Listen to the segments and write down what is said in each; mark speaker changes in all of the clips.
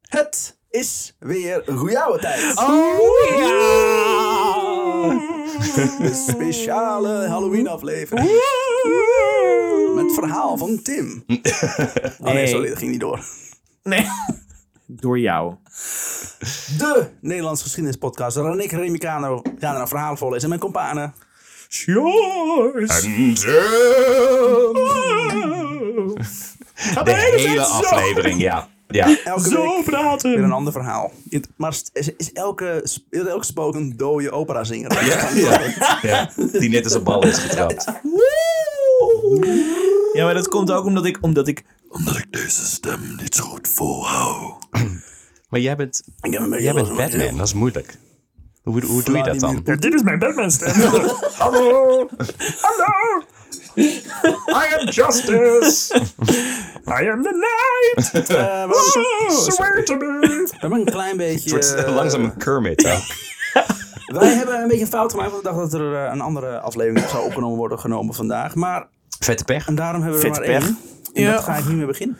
Speaker 1: Het is weer goeiouwe tijd.
Speaker 2: Oh
Speaker 1: De speciale Halloween aflevering. Met het verhaal van Tim. Oh nee,
Speaker 2: Nee.
Speaker 1: sorry, dat ging niet door.
Speaker 2: Nee. Door jou.
Speaker 1: De Nederlands geschiedenispodcast. Renik Remicano gaan er een verhaal voorlezen. En mijn companen.
Speaker 2: Sjoes.
Speaker 3: En De hele aflevering, ja. ja.
Speaker 1: Elke
Speaker 2: Zo
Speaker 1: week weer een
Speaker 2: praten.
Speaker 1: ander verhaal. Het- Maar is- is, is elke, sp- is elk spook een dode operazinger?
Speaker 3: Ja, ja, ja. Die net als een bal is getrapt.
Speaker 2: Ja, maar dat komt ook omdat ik, omdat ik
Speaker 1: Omdat ik deze stem niet zo goed volhoud.
Speaker 3: Maar jij bent,
Speaker 1: Ik heb een beetje
Speaker 3: jij bent
Speaker 1: last van-
Speaker 3: Batman, dat is moeilijk. Hoe, hoe doe je dat dan?
Speaker 2: Ja, dit is mijn Batman-stem. Hallo. Hallo.
Speaker 3: I am justice!
Speaker 2: I am the night.
Speaker 1: Eh, we, hebben,
Speaker 2: Swear to me.
Speaker 1: we hebben een klein beetje...
Speaker 3: Het wordt
Speaker 1: eh,
Speaker 3: langzaam een Kermit ook.
Speaker 1: Wij hebben een beetje een fout gemaakt. Want ik dacht dat er eh, een andere aflevering zou opgenomen worden genomen vandaag. Maar
Speaker 3: Vette pech.
Speaker 1: en daarom hebben we er
Speaker 2: Vette
Speaker 1: maar
Speaker 2: pech.
Speaker 1: één. En
Speaker 2: Ja.
Speaker 1: dat ga ik niet meer beginnen.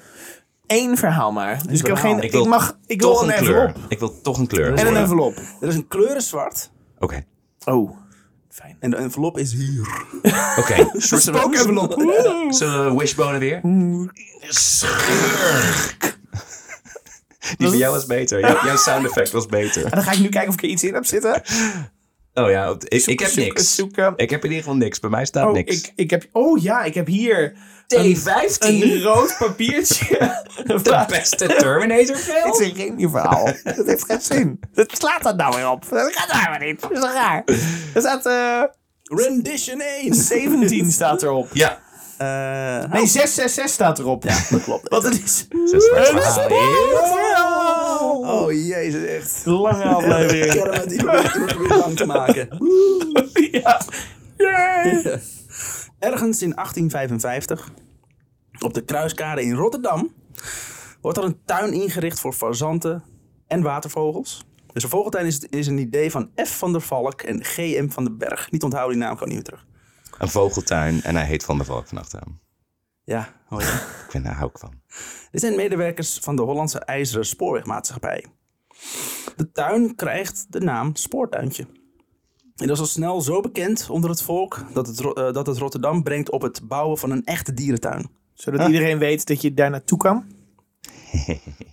Speaker 2: Eén verhaal maar. Dus ik heb
Speaker 1: verhaal.
Speaker 2: geen...
Speaker 3: Ik
Speaker 2: Ik,
Speaker 3: wil
Speaker 2: mag... Ik wil
Speaker 3: Toch
Speaker 2: een
Speaker 3: een kleur.
Speaker 2: envelop.
Speaker 3: Ik wil toch een kleur.
Speaker 2: En een
Speaker 3: horen.
Speaker 2: envelop.
Speaker 1: Er is een kleurenzwart.
Speaker 3: Oké.
Speaker 2: Oh. Fijn.
Speaker 1: En de envelop is hier.
Speaker 3: Oké. Zullen we-
Speaker 2: Spook-envelop.
Speaker 3: Zullen we wishbonen weer? Schurk. Die van jou was beter. Jou- jouw sound effect was beter.
Speaker 2: En dan ga ik nu kijken of ik er iets in heb zitten.
Speaker 3: Oh ja, op- ik, ik heb
Speaker 2: zoeken,
Speaker 3: niks.
Speaker 2: zoeken.
Speaker 3: Ik heb in ieder geval niks. Bij mij staat
Speaker 2: Oh,
Speaker 3: niks.
Speaker 2: Ik, ik heb, oh ja, ik heb hier
Speaker 3: T15?
Speaker 2: een rood papiertje.
Speaker 3: De
Speaker 2: Waar-
Speaker 3: beste Terminator film?
Speaker 2: Dit is een genie-verhaal. Dat heeft geen zin. Dat slaat dat nou weer op. Dat gaat daar maar niet. Dat is toch raar. Er staat eh,
Speaker 1: Rendition 1.
Speaker 2: 17 staat erop.
Speaker 3: Ja.
Speaker 1: Eh,
Speaker 2: Nee, 666 staat erop. Ja, dat klopt. Want het is
Speaker 3: Zes waar
Speaker 2: een
Speaker 3: verhaal.
Speaker 2: spookverhaal.
Speaker 1: oh jezus, echt.
Speaker 2: Lange
Speaker 1: Ik
Speaker 2: aflevering.
Speaker 1: heb het die probeert het weer lang te maken.
Speaker 2: ja. Yay.
Speaker 1: Ergens in 1855, op de Kruiskade in Rotterdam, wordt er een tuin ingericht voor fazanten en watervogels. Dus de vogeltuin is, is een idee van F. van der Valk en G.M. van den Berg. Niet onthouden, die naam kan niet meer terug.
Speaker 3: Een vogeltuin en hij heet Van der Valk van achteraan.
Speaker 1: Ja, hoor je.
Speaker 3: Ik vind daar hou ik van.
Speaker 1: Dit zijn medewerkers van de Hollandse IJzeren Spoorwegmaatschappij. De tuin krijgt de naam Spoortuintje. En dat is al snel zo bekend onder het volk dat het, Ro- eh, dat het Rotterdam brengt op het bouwen van een echte dierentuin.
Speaker 2: Zodat iedereen weet dat je daar naartoe kan.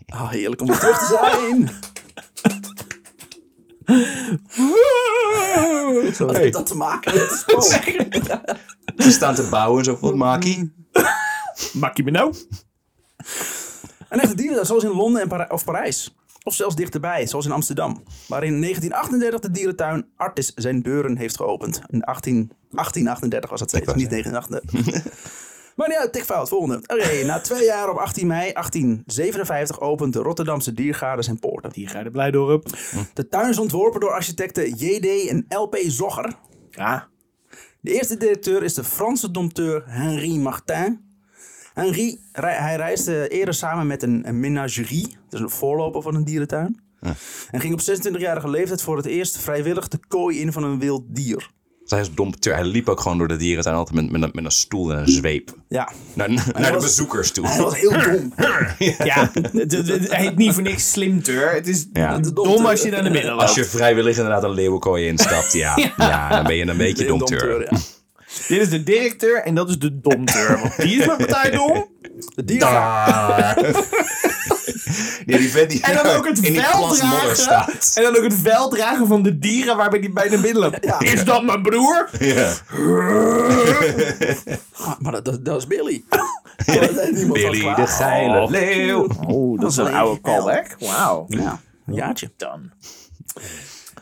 Speaker 1: Ah, heerlijk om weer terug te zijn! Wat heeft dat te maken met het spoor?
Speaker 3: Ze staan te bouwen en zo voor Maki.
Speaker 2: Makkie me nou.
Speaker 1: Een echte dierentuin, zoals in Londen en Para- of Parijs. Of zelfs dichterbij, zoals in Amsterdam. Waar in 1938 de dierentuin Artis zijn deuren heeft geopend. In 18, 1838 was dat steeds, niet 1938. maar ja, tikfout, volgende. Oké, na twee jaar op 18 mei 1857 opent de Rotterdamse diergaarde zijn poorten.
Speaker 2: Hier ga je er blij door op.
Speaker 1: De tuin is ontworpen door architecten J.D. en L.P. Zogger.
Speaker 2: Ja.
Speaker 1: De eerste directeur is de Franse dompteur Henri Martin. Henri, re- hij reisde eerder samen met een, een menagerie, dus een voorloper van een dierentuin. En ging op 26-jarige leeftijd voor het eerst vrijwillig de kooi in van een wild dier.
Speaker 3: Zij is dompteur. Hij liep ook gewoon door de dierentuin altijd met, met, een, met een stoel en een zweep.
Speaker 1: Ja,
Speaker 3: Naar, naar de
Speaker 1: was-
Speaker 3: bezoekers
Speaker 1: hij
Speaker 3: toe.
Speaker 1: was heel dom.
Speaker 2: Ja, het- het- het heet niet voor niks slimteur. Het is
Speaker 3: Ja.
Speaker 2: dom als je naar de midden
Speaker 3: Als
Speaker 2: loopt.
Speaker 3: je vrijwillig inderdaad een leeuwenkooi instapt, ja. ja, dan ben je een beetje
Speaker 1: Heel
Speaker 3: dompteur.
Speaker 1: dompteur, ja.
Speaker 2: Dit is de directeur en dat is de domteur. Want die is maar partij dom.
Speaker 1: De dier...
Speaker 3: Ja, die vent die
Speaker 2: En dan ook het
Speaker 3: in die
Speaker 2: vel
Speaker 3: plas modder
Speaker 2: dragen.
Speaker 3: staat.
Speaker 2: En dan ook het vel dragen van de dieren waarbij die bij de midden loopt. Is dat mijn broer?
Speaker 3: Ja.
Speaker 1: Ah, maar dat, dat, dat is Billy. Ja, dat heeft niemand van
Speaker 3: Billy
Speaker 1: klaar.
Speaker 3: de geile leeuw.
Speaker 2: Oh, dat is
Speaker 1: een oude callback.
Speaker 2: Wauw.
Speaker 1: Ja, een jaartje.
Speaker 2: Dan.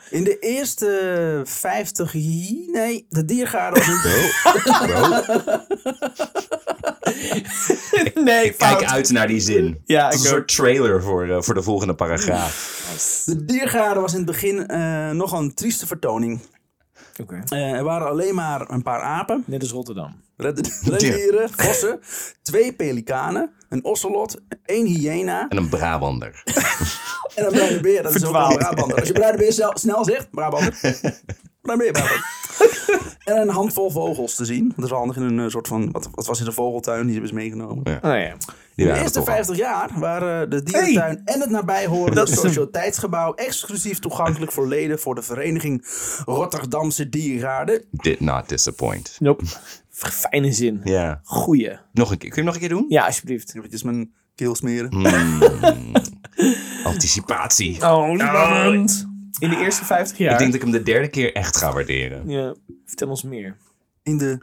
Speaker 1: In de eerste 50 jaar... Nee, de diergaarde was een...
Speaker 3: Oh,
Speaker 2: Nee, fout.
Speaker 3: Kijk uit naar die zin.
Speaker 2: Ja,
Speaker 3: Het is
Speaker 2: ik
Speaker 3: een
Speaker 2: ook.
Speaker 3: soort trailer voor, eh, voor de volgende paragraaf.
Speaker 1: De diergaarde was in het begin eh, nogal een trieste vertoning.
Speaker 2: Oké.
Speaker 1: Eh, er waren alleen maar een paar apen,
Speaker 2: Net als Rotterdam.
Speaker 1: red- rendieren, vossen, twee pelikanen, een ocelot, één hyena
Speaker 3: En een Brabander.
Speaker 1: en een bruine beer. Dat is ook wel een
Speaker 2: Verdwaald.
Speaker 1: Brabander. Als je bruine beer snel, snel zegt, Brabander. Bruine beer, Brabander. en een handvol vogels te zien. Dat is wel handig in een eh, soort van... Wat, wat was in de vogeltuin? Die hebben ze meegenomen.
Speaker 3: Ja.
Speaker 2: Oh ja.
Speaker 1: In de
Speaker 3: waren
Speaker 1: eerste
Speaker 3: toch al.
Speaker 1: 50 jaar waren eh, de dierentuin en het nabijhorende
Speaker 2: Dat is hem.
Speaker 1: sociëteitsgebouw exclusief toegankelijk voor leden voor de vereniging Rotterdamse Diergaarden.
Speaker 3: Did not disappoint.
Speaker 2: Nope. Fijne zin.
Speaker 3: Ja.
Speaker 2: Goeie.
Speaker 3: Nog een keer. Kun je hem nog een keer doen?
Speaker 2: Ja, alsjeblieft.
Speaker 1: Eventjes mijn keel smeren.
Speaker 3: Anticipatie.
Speaker 2: Oh, spannend. In de eerste 50 jaar.
Speaker 3: Ik denk dat ik hem de derde keer echt ga waarderen.
Speaker 2: Ja, vertel ons meer.
Speaker 1: In de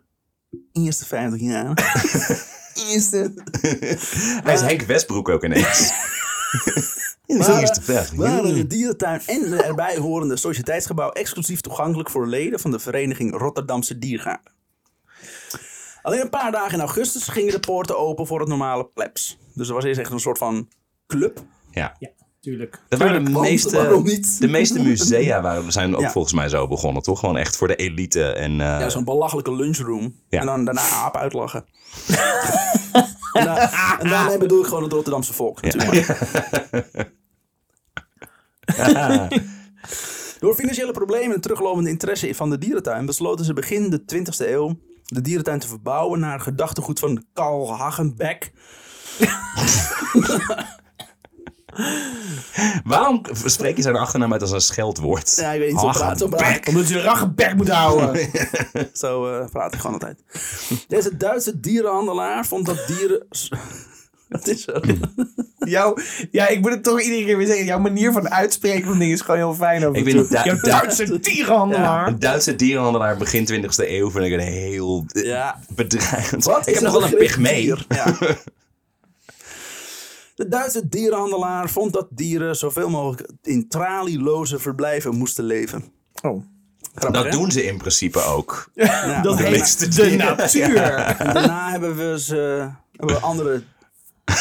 Speaker 1: eerste 50 jaar.
Speaker 2: Eerste.
Speaker 3: Hij is Henk Westbroek ook ineens. In de
Speaker 1: Maar-
Speaker 3: eerste plek.
Speaker 1: waren de dierentuin en de erbijhorende sociëteitsgebouw exclusief toegankelijk voor leden van de vereniging Rotterdamse Diergaarden. Alleen een paar dagen in augustus gingen de poorten open voor het normale plebs. Dus er was eerst echt een soort van club.
Speaker 3: Ja.
Speaker 2: Ja, tuurlijk.
Speaker 3: Dat waren de
Speaker 1: want
Speaker 3: meeste,
Speaker 1: waarom niet?
Speaker 3: de meeste musea waren, zijn ook
Speaker 1: Ja.
Speaker 3: volgens mij zo begonnen, toch? Gewoon echt voor de elite. En, eh,
Speaker 1: Ja, zo'n belachelijke lunchroom.
Speaker 3: Ja.
Speaker 1: En dan daarna aap uitlachen. en, daar- en daarmee bedoel ik gewoon het Rotterdamse volk natuurlijk. Door financiële problemen en teruglopende interesse van de dierentuin besloten ze begin de 20e eeuw de dierentuin te verbouwen naar het gedachtegoed van Karl Hagenbeck.
Speaker 3: Waarom spreek je zijn achternaam uit als een scheldwoord?
Speaker 1: Ja, ik weet niet, zo praat, zo praat,
Speaker 3: Hagenbeck.
Speaker 2: Omdat je een raggebek moet houden.
Speaker 1: Zo eh, praat ik gewoon altijd. Deze Duitse dierenhandelaar vond dat dieren... Wat is er?
Speaker 2: Jouw, ja, ik moet het toch iedere keer weer zeggen. Jouw manier van uitspreken van dingen is gewoon heel fijn. Over
Speaker 3: Ik
Speaker 2: en
Speaker 3: vind
Speaker 2: toe.
Speaker 3: Du-
Speaker 2: Jouw
Speaker 3: Du-
Speaker 2: Duitse dierenhandelaar.
Speaker 3: Een Duitse dierenhandelaar begin 20e eeuw vind ik een heel eh,
Speaker 1: Ja.
Speaker 3: bedreigend.
Speaker 1: Wat
Speaker 3: Ik
Speaker 1: is
Speaker 3: heb nog wel een
Speaker 1: gericht
Speaker 3: pygmee.
Speaker 1: dier? Ja. De Duitse dierenhandelaar vond dat dieren zoveel mogelijk in tralieloze verblijven moesten leven.
Speaker 2: Oh.
Speaker 1: Grappig,
Speaker 3: Dat
Speaker 1: hè?
Speaker 3: doen ze in principe ook.
Speaker 1: Ja.
Speaker 2: Dat
Speaker 1: En
Speaker 3: meeste
Speaker 2: heet de natuur.
Speaker 1: daarna- en daarna hebben we, ze, hebben we andere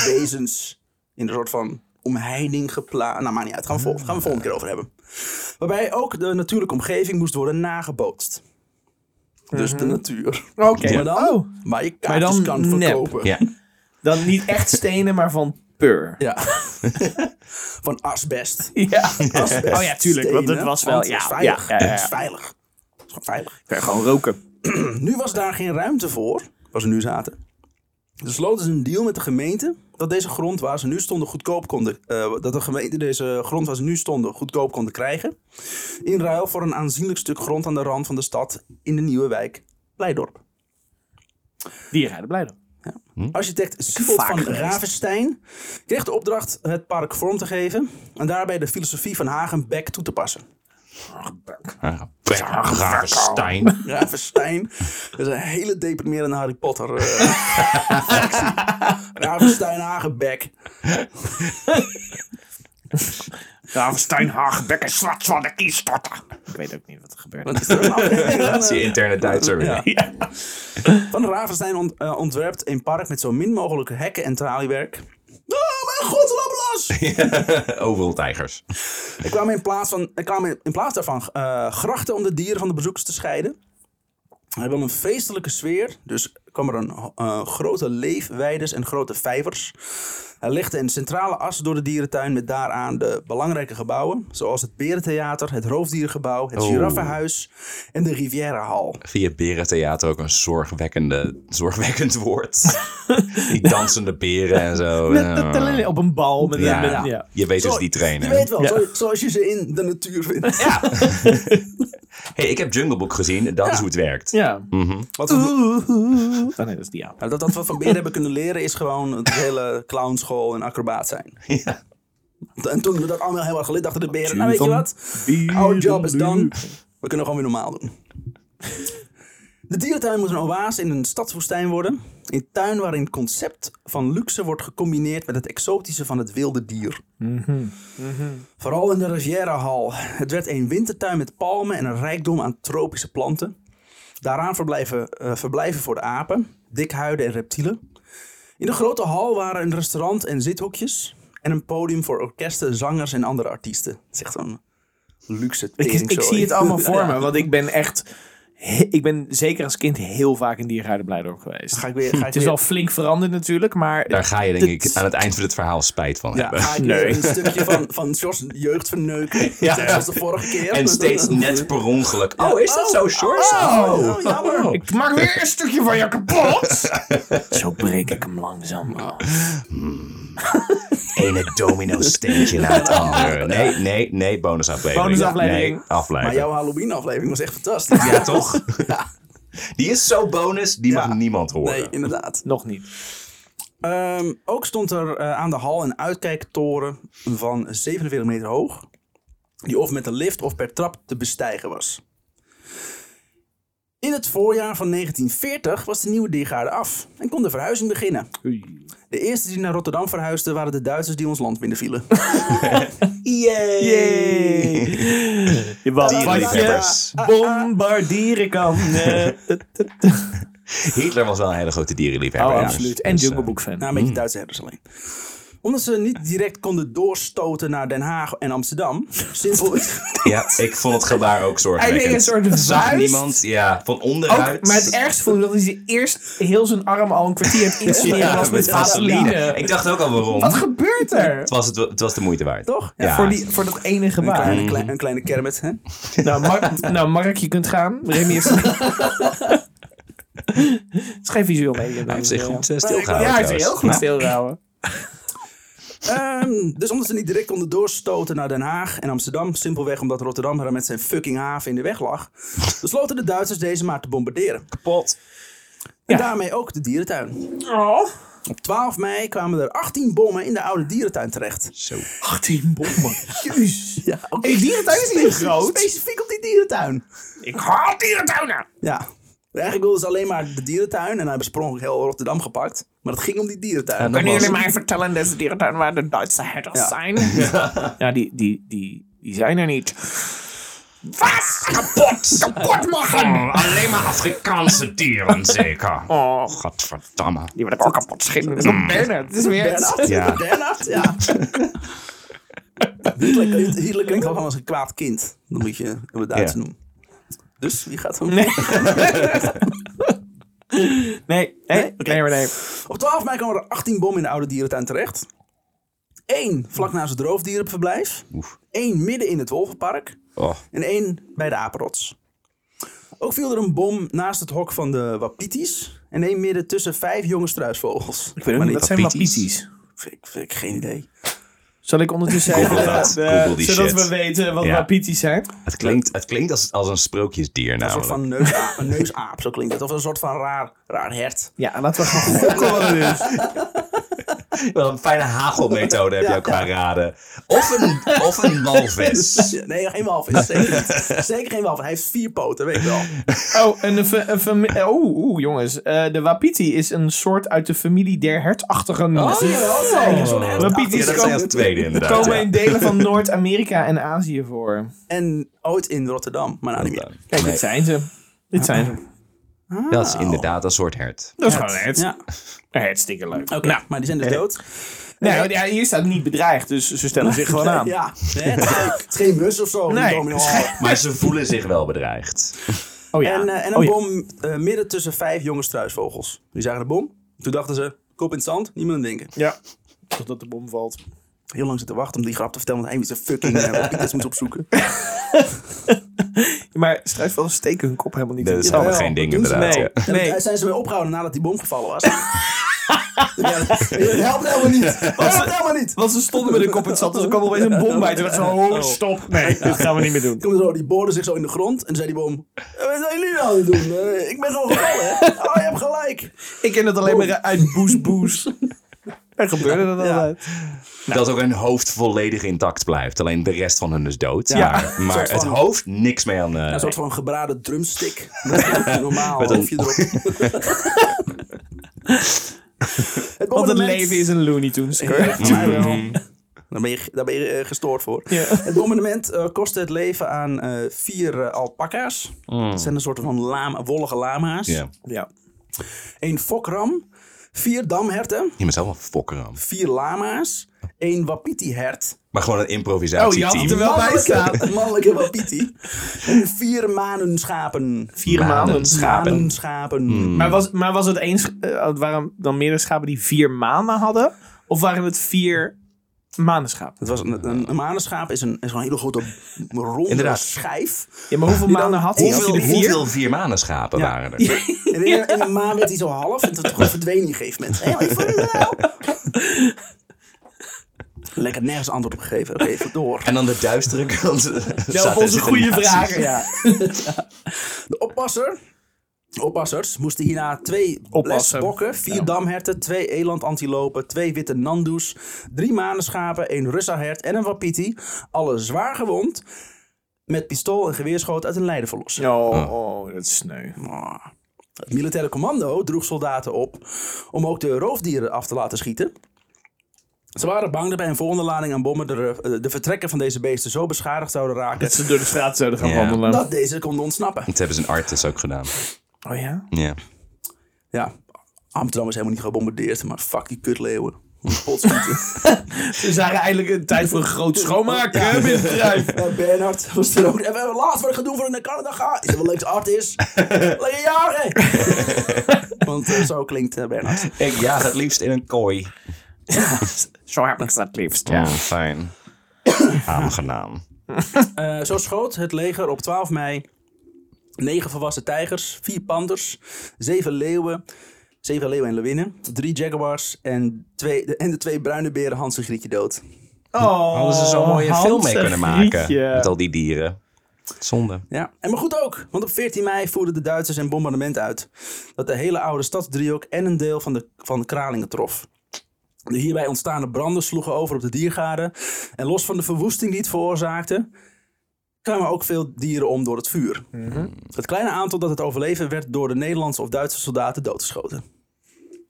Speaker 1: wezens in een soort van omheining geplaatst. Nou, maar niet uit. Gaan we, vol, gaan we volgende keer over hebben. Waarbij ook de natuurlijke omgeving moest worden nagebootst. Dus de natuur.
Speaker 2: Oké.
Speaker 1: Maar dan,
Speaker 2: Oh.
Speaker 1: waar je kaartjes
Speaker 2: dan
Speaker 1: kan
Speaker 2: nep.
Speaker 1: verkopen.
Speaker 3: Ja.
Speaker 2: Dan niet echt stenen, maar van pur.
Speaker 1: Ja. Van asbest.
Speaker 2: Ja.
Speaker 1: Asbest,
Speaker 2: Oh ja, tuurlijk, want het
Speaker 1: stenen,
Speaker 2: was wel-
Speaker 1: want het
Speaker 2: ja,
Speaker 1: is veilig.
Speaker 2: ja, ja, ja.
Speaker 1: Het is veilig. Het is gewoon veilig.
Speaker 2: Kan je gewoon roken.
Speaker 1: Nu was daar geen ruimte voor, waar ze nu zaten. Dus sloten ze een deal met de gemeente dat deze grond waar ze nu stonden goedkoop konden... eh, dat de gemeente deze grond waar ze nu stonden goedkoop konden krijgen. In ruil voor een aanzienlijk stuk grond aan de rand van de stad in de nieuwe wijk Leidorp.
Speaker 2: Dierenrijden blijden.
Speaker 1: Architect Siebold
Speaker 2: Hm? Vaak
Speaker 1: van
Speaker 2: geweest.
Speaker 1: Ravenstein kreeg de opdracht het park vorm te geven en daarbij de filosofie van Hagenbeck toe te passen.
Speaker 3: Hagenbeck, Stein.
Speaker 1: Ravenstein, dat is een hele deprimerende Harry Potter eh fractie. Ravenstein Hagenbeck.
Speaker 2: Ravenstein, Hagenbekken, Slats van de Kiestorter. Ik weet ook niet wat er gebeurt.
Speaker 1: Dat is een aflevering van,
Speaker 3: Dat is die interne Duitser weer.
Speaker 1: Ja. Van Ravenstein ont- eh, ontwerpt een park met zo min mogelijk hekken en traliewerk. Oh mijn god, loop los!
Speaker 3: Overal tijgers.
Speaker 1: Er kwamen in plaats, van, er kwamen in plaats daarvan eh, grachten om de dieren van de bezoekers te scheiden. Hij wil een feestelijke sfeer, dus kwam er een eh, grote leefweides en grote vijvers. Hij legde een centrale as door de dierentuin met daaraan de belangrijke gebouwen, zoals het Berentheater, het Roofdierengebouw, het
Speaker 3: Oh.
Speaker 1: Giraffenhuis en de Riviera Hall.
Speaker 3: Via berentheater ook een zorgwekkende, zorgwekkend woord. Die dansende beren en zo.
Speaker 2: Met- Op een bal. Met,
Speaker 3: Ja,
Speaker 2: met, ja.
Speaker 3: je weet dus die
Speaker 1: Je
Speaker 3: trainen.
Speaker 1: weet wel,
Speaker 2: Ja.
Speaker 1: zo- zoals je ze in de natuur vindt.
Speaker 3: Hey, ik heb Jungle Book gezien en dat is hoe het werkt.
Speaker 2: Ja.
Speaker 1: Wat we-
Speaker 2: Oh nee, dat is die aap.
Speaker 1: Nou, dat, dat we van beren hebben kunnen leren is gewoon het hele clownschool en acrobaat zijn.
Speaker 3: Ja.
Speaker 1: En toen we dat allemaal heel erg gelid dachten de beren, nou weet je wat, our job is done. We kunnen gewoon weer normaal doen. De dierentuin moet een oase in een stadswoestijn worden. Een tuin waarin het concept van luxe wordt gecombineerd met het exotische van het wilde dier. Vooral in de Riviera Hall. Het werd een wintertuin met palmen en een rijkdom aan tropische planten. Daaraan verblijven, eh, verblijven voor de apen, dikhuiden en reptielen. In de grote hal waren een restaurant en zithoekjes. En een podium voor orkesten, zangers en andere artiesten. Het is echt zo'n luxe
Speaker 2: Ik, ik
Speaker 1: teringzooi.
Speaker 2: zie het allemaal voor
Speaker 1: Ja.
Speaker 2: me, want ik ben echt he- ik ben zeker als kind heel vaak in diergaarden Blijdorp geweest.
Speaker 1: Ga ik weer, ga ik
Speaker 2: Het is
Speaker 1: weer,
Speaker 2: al flink veranderd natuurlijk, maar
Speaker 3: Daar ga je denk
Speaker 2: dit-
Speaker 3: ik aan het eind van het verhaal spijt van
Speaker 2: Ja.
Speaker 3: hebben.
Speaker 1: ga ik weer
Speaker 2: Nee.
Speaker 1: een stukje van, van George's jeugd verneuken.
Speaker 3: Ja.
Speaker 1: Zoals de vorige keer.
Speaker 3: En steeds net per ongeluk. Oh, is dat zo, George?
Speaker 1: Oh, oh, jammer.
Speaker 2: Ik maak weer een stukje van je kapot. Zo breek ik hem langzaam.
Speaker 3: ene domino steentje na het andere. Nee, nee, nee, bonusaflevering.
Speaker 2: Bonusaflevering.
Speaker 3: Nee, aflevering.
Speaker 1: Maar jouw Halloween-aflevering was echt fantastisch.
Speaker 3: Ja, toch? Die is zo bonus, die
Speaker 1: Ja.
Speaker 3: mag niemand horen.
Speaker 1: Nee, inderdaad.
Speaker 2: Nog niet.
Speaker 1: Ehm, ook stond er eh, aan de hal een uitkijktoren van 47 meter hoog. Die of met een lift of per trap te bestijgen was. In het voorjaar van 1940 was de nieuwe diergaarde af en kon de verhuizing beginnen. De eerste die naar Rotterdam verhuisden waren de Duitsers die ons land binnenvielen.
Speaker 3: Yay!
Speaker 2: Wat
Speaker 3: Dierenliefhebbers.
Speaker 2: bombarderen kan. Eh,
Speaker 3: Hitler was wel een hele grote dierenliefhebber.
Speaker 2: Oh,
Speaker 3: ja.
Speaker 2: absoluut. En
Speaker 3: Dus, eh,
Speaker 2: Jungle Book fan.
Speaker 1: Nou, een beetje Duitse herders alleen. Omdat ze niet direct konden doorstoten naar Den Haag en Amsterdam. Simpelweg.
Speaker 3: Ja, ik vond het gebaar ook zorgwekkend.
Speaker 2: Hij deed een soort
Speaker 3: Zag
Speaker 2: vuist.
Speaker 3: niemand, ja, van onderuit.
Speaker 2: Ook, maar het ergste vond ik dat hij ze eerst heel zijn arm al een kwartier heeft
Speaker 3: ja,
Speaker 2: ingesmeerd was
Speaker 3: met
Speaker 2: met vaseline.
Speaker 3: vaseline. Ik dacht ook al waarom.
Speaker 2: Wat
Speaker 3: Het
Speaker 2: gebeurt er?
Speaker 3: was, het, het was de moeite waard.
Speaker 1: Toch?
Speaker 3: Ja.
Speaker 2: Voor, die, voor dat ene
Speaker 1: Een
Speaker 2: gebaar.
Speaker 1: kleine, klei- een kleine kermit, hè?
Speaker 2: Nou, Mar- nou, Mark, je kunt gaan. Remy heeft... Het is geen visueel medium.
Speaker 3: Hij heeft zich goed eh, stilgehouden.
Speaker 2: Ja, hij is
Speaker 3: trouwens.
Speaker 2: heel goed
Speaker 3: Ja.
Speaker 2: stilgehouden.
Speaker 1: Ehm, dus omdat ze niet direct konden doorstoten naar Den Haag en Amsterdam, simpelweg omdat Rotterdam er met zijn fucking haven in de weg lag, besloten de Duitsers deze maar te bombarderen.
Speaker 3: Pot.
Speaker 1: En
Speaker 2: Ja.
Speaker 1: daarmee ook de dierentuin.
Speaker 2: Oh.
Speaker 1: Op 12 mei kwamen er 18 bommen in de oude dierentuin terecht.
Speaker 3: Zo.
Speaker 2: 18 bommen. Jezus.
Speaker 1: Ja, ook
Speaker 2: Hey, die dierentuin is niet groot.
Speaker 1: specifiek op die dierentuin.
Speaker 2: Ik haat dierentuinen.
Speaker 1: Ja. Eigenlijk wilden ze alleen maar de dierentuin en hij besprong heel Rotterdam gepakt. Maar het ging om die dierentuin.
Speaker 3: Ja,
Speaker 2: Kunnen
Speaker 3: Was-
Speaker 2: jullie mij vertellen in deze dierentuin waar de Duitse herders
Speaker 1: Ja.
Speaker 2: zijn? Ja, die, die, die, die zijn er niet. Wat? Kapot! Kapot maken!
Speaker 4: Alleen maar Afrikaanse dieren, zeker.
Speaker 2: Oh,
Speaker 4: Godverdamme.
Speaker 2: die wil ik ook kapot schieten. Dat is nog Bernard. Het is weer...
Speaker 1: Bernhard?
Speaker 3: Ja.
Speaker 1: Bernhard, ja. Hitler klinkt- Hitler klinkt gewoon als een kwaad kind. Dan moet je hem het Duits
Speaker 3: Ja.
Speaker 1: noemen. Dus wie gaat hem?
Speaker 2: Nee, nee,
Speaker 1: Oké.
Speaker 2: nee, maar nee.
Speaker 1: Op 12 mei kwamen er 18 bommen in de oude dierentuin terecht. Eén vlak naast het roofdierenverblijf.
Speaker 3: Oef.
Speaker 1: Eén midden in het wolvenpark.
Speaker 3: Oh.
Speaker 1: En één bij de apenrots. Ook viel er een bom naast het hok van de wapitis. En één midden tussen vijf jonge struisvogels. Ik weet
Speaker 2: Maar dat zijn
Speaker 3: Wapitis.
Speaker 2: wapitis.
Speaker 1: Ik, ik, geen idee.
Speaker 2: Zal ik ondertussen even...
Speaker 3: Google dat.
Speaker 2: eh,
Speaker 3: Google die
Speaker 2: zodat
Speaker 3: shit.
Speaker 2: we weten wat
Speaker 3: Ja.
Speaker 2: wapitis zijn.
Speaker 3: Het klinkt, het klinkt als, als een sprookjesdier
Speaker 1: Een soort
Speaker 3: namelijk.
Speaker 1: van neusaap, een neusaap, zo klinkt het. Of een soort van raar, raar hert.
Speaker 2: Ja, laten we gaan gokken wat het is.
Speaker 3: Wel een fijne hagelmethode heb je ook qua raden. Of een, of een walvis.
Speaker 1: Nee, geen walvis. Zeker niet. Zeker geen walvis. Hij heeft vier poten, weet ik wel.
Speaker 2: Oh, en een fa- een fami- eh, oeh, oeh, jongens. Eh, de wapiti is een soort uit de familie der hertachtigen.
Speaker 1: Oh.
Speaker 2: Wapitis
Speaker 3: Ja, dat zijn als tweede inderdaad.
Speaker 2: komen
Speaker 3: ja.
Speaker 2: in delen van Noord-Amerika en Azië voor.
Speaker 1: En ooit in Rotterdam, maar nou niet meer.
Speaker 2: Kijk,
Speaker 3: Nee,
Speaker 2: dit zijn ze. Dit zijn ze.
Speaker 3: dat is inderdaad een soort hert.
Speaker 2: Dat is gewoon het.
Speaker 1: Ja,
Speaker 2: Hartstikke leuk.
Speaker 1: oké. Maar die zijn dus dood.
Speaker 2: Nee, ja, hier staat niet bedreigd, dus ze stellen zich gewoon aan.
Speaker 1: Ja. Nee, het, is geen- het is geen mus of zo. die
Speaker 2: Nee.
Speaker 1: domino hal.
Speaker 3: Maar ze voelen zich wel bedreigd.
Speaker 2: Oh ja.
Speaker 1: En, eh, en een
Speaker 2: Oh ja.
Speaker 1: bom eh, midden tussen vijf jonge struisvogels. Die zagen de bom. Toen dachten ze, kop in het zand, niemand aan denken.
Speaker 2: Ja. Totdat de bom valt.
Speaker 1: Heel lang zitten wachten om die grap te vertellen, want hij moest een fucking eh, wapitis moest opzoeken.
Speaker 2: Maar struisvogels steken hun kop helemaal niet Oh,
Speaker 3: Dat
Speaker 2: in.
Speaker 3: is
Speaker 2: Ja.
Speaker 3: allemaal
Speaker 1: wel,
Speaker 3: geen ding
Speaker 2: doen ze
Speaker 3: inderdaad.
Speaker 2: mee.
Speaker 3: ja.
Speaker 1: En
Speaker 2: Nee.
Speaker 1: daar zijn ze mee opgehouden nadat die bom gevallen was. ja, dat helpt helemaal niet. Dat helpt helemaal niet.
Speaker 2: Want ze stonden met hun kop in het zand, dus er kwam opeens een bom bij. Toen dachten ze, oh, stop. Nee, dat gaan we niet meer doen.
Speaker 1: Toen zo, die boorden zich zo in de grond. En toen zei die boom, "Eh, wat zijn jullie nou aan het doen? Eh, ik ben gewoon gevallen, hè? Oh, je hebt gelijk.
Speaker 2: Ik ken het alleen maar uit Boes Boes. Er gebeurde dat
Speaker 1: Ja.
Speaker 2: altijd.
Speaker 3: Dat ook hun hoofd volledig intact blijft. Alleen de rest van hun is dood. Maar, maar
Speaker 1: Soort
Speaker 3: het
Speaker 1: van-
Speaker 3: hoofd niks mee aan... eh,
Speaker 1: Een soort van gebraden drumstick. Normaal, Met
Speaker 3: een-
Speaker 1: hoofdje erop. het
Speaker 2: Want het
Speaker 1: bombardement-
Speaker 2: leven is een Looney Tunes.
Speaker 1: Ja, voor mij wel. Daar ben je, daar ben je eh, gestoord voor.
Speaker 2: Ja.
Speaker 1: Het bombardement eh, kostte het leven aan eh, vier eh, alpaca's. Dat zijn een soort van lama, wollige lama's.
Speaker 3: ja.
Speaker 2: Ja.
Speaker 1: Een fokram Vier damherten,
Speaker 3: Je bent helemaal fokkeram.
Speaker 1: vier lama's, één wapiti-hert.
Speaker 3: Maar gewoon een improvisatieteam.
Speaker 2: er wel bij staan.
Speaker 1: Een mannelijke wapiti. En vier manenschapen.
Speaker 2: Vier
Speaker 3: Manen.
Speaker 2: maanden.
Speaker 3: Schapen.
Speaker 1: Manenschapen.
Speaker 2: Maar was, maar was het eens, eh, waren dan meerdere schapen die vier manen hadden? Of waren het vier manenschapen?
Speaker 1: Het was een, een, een manenschaap is een, is een hele grote ronde
Speaker 3: Inderdaad.
Speaker 1: schijf.
Speaker 2: Ja, maar hoeveel manen had hij? Had
Speaker 3: Hoeveel,
Speaker 2: hij er vier?
Speaker 3: hoeveel viermanenschapen waren er?
Speaker 1: En in, in een maan werd hij zo half en toen gewoon verdween die gegeven moment. Hé, ik vond het wel. Lekker nergens antwoord op gegeven. Oké, even door.
Speaker 3: En aan de duistere kant
Speaker 2: Ja,
Speaker 3: zaten
Speaker 2: op onze
Speaker 3: zitten
Speaker 2: goede
Speaker 3: nazi's.
Speaker 2: vragen, ja.
Speaker 1: De oppasser. Oppassers moesten hierna twee
Speaker 2: Oppassen.
Speaker 1: lesbokken, vier damherten, twee elandantilopen, twee witte nandoes, drie manenschapen, één russahert en een wapiti. Alle zwaar gewond, met pistool en geweerschoten uit hun lijden verlossen.
Speaker 2: Oh, oh, dat is sneu.
Speaker 1: Ah. Het militaire commando droeg soldaten op om ook de roofdieren af te laten schieten. Ze waren bang dat bij een volgende lading aan bommen de, eh, de vertrekken van deze beesten zo beschadigd zouden raken
Speaker 2: Dat ze door de straat zouden gaan
Speaker 3: Ja.
Speaker 2: wandelen.
Speaker 1: dat deze konden ontsnappen.
Speaker 3: Dat hebben ze in Artis ook gedaan.
Speaker 2: Oh ja?
Speaker 3: Ja.
Speaker 1: Ja, Amsterdam is helemaal niet gebombardeerd, maar fuck die kutleeuwen. Potschieten.
Speaker 2: Ze zagen eigenlijk een tijd voor een groot schoonmaken hè, binnen het bedrijf.
Speaker 1: Ja, Bernhard Eh, was er ook. En we hebben laatst wat gedoe voor ik naar Canada ga. Is dat wel leuk art is? Lekker jagen! Want eh, zo klinkt eh, Bernhard.
Speaker 3: Ik jaag het liefst in een kooi.
Speaker 2: Zo heb ik dat liefst,
Speaker 3: Ja, fijn. Aangenaam.
Speaker 1: Eh, zo schoot het leger op 12 mei negen volwassen tijgers, vier panders, zeven leeuwen, zeven leeuwen en leeuwinnen, drie jaguars en, twee, de, en de twee bruine beren Hans en Grietje dood.
Speaker 2: Oh,
Speaker 3: Hadden ze zo'n mooie
Speaker 2: Hans
Speaker 3: film mee
Speaker 2: en
Speaker 3: kunnen maken.
Speaker 2: Grietje.
Speaker 3: Met al die dieren. Zonde.
Speaker 1: Ja, en maar goed ook, want op 14 mei voerden de Duitsers een bombardement uit dat de hele oude stadsdriehoek en een deel van de, van de Kralingen trof. De hierbij ontstaande branden sloegen over op de diergaarden en los van de verwoesting die het veroorzaakte, kwamen ook veel dieren om door het vuur. Het kleine aantal dat het overleven werd door de Nederlandse of Duitse soldaten doodgeschoten.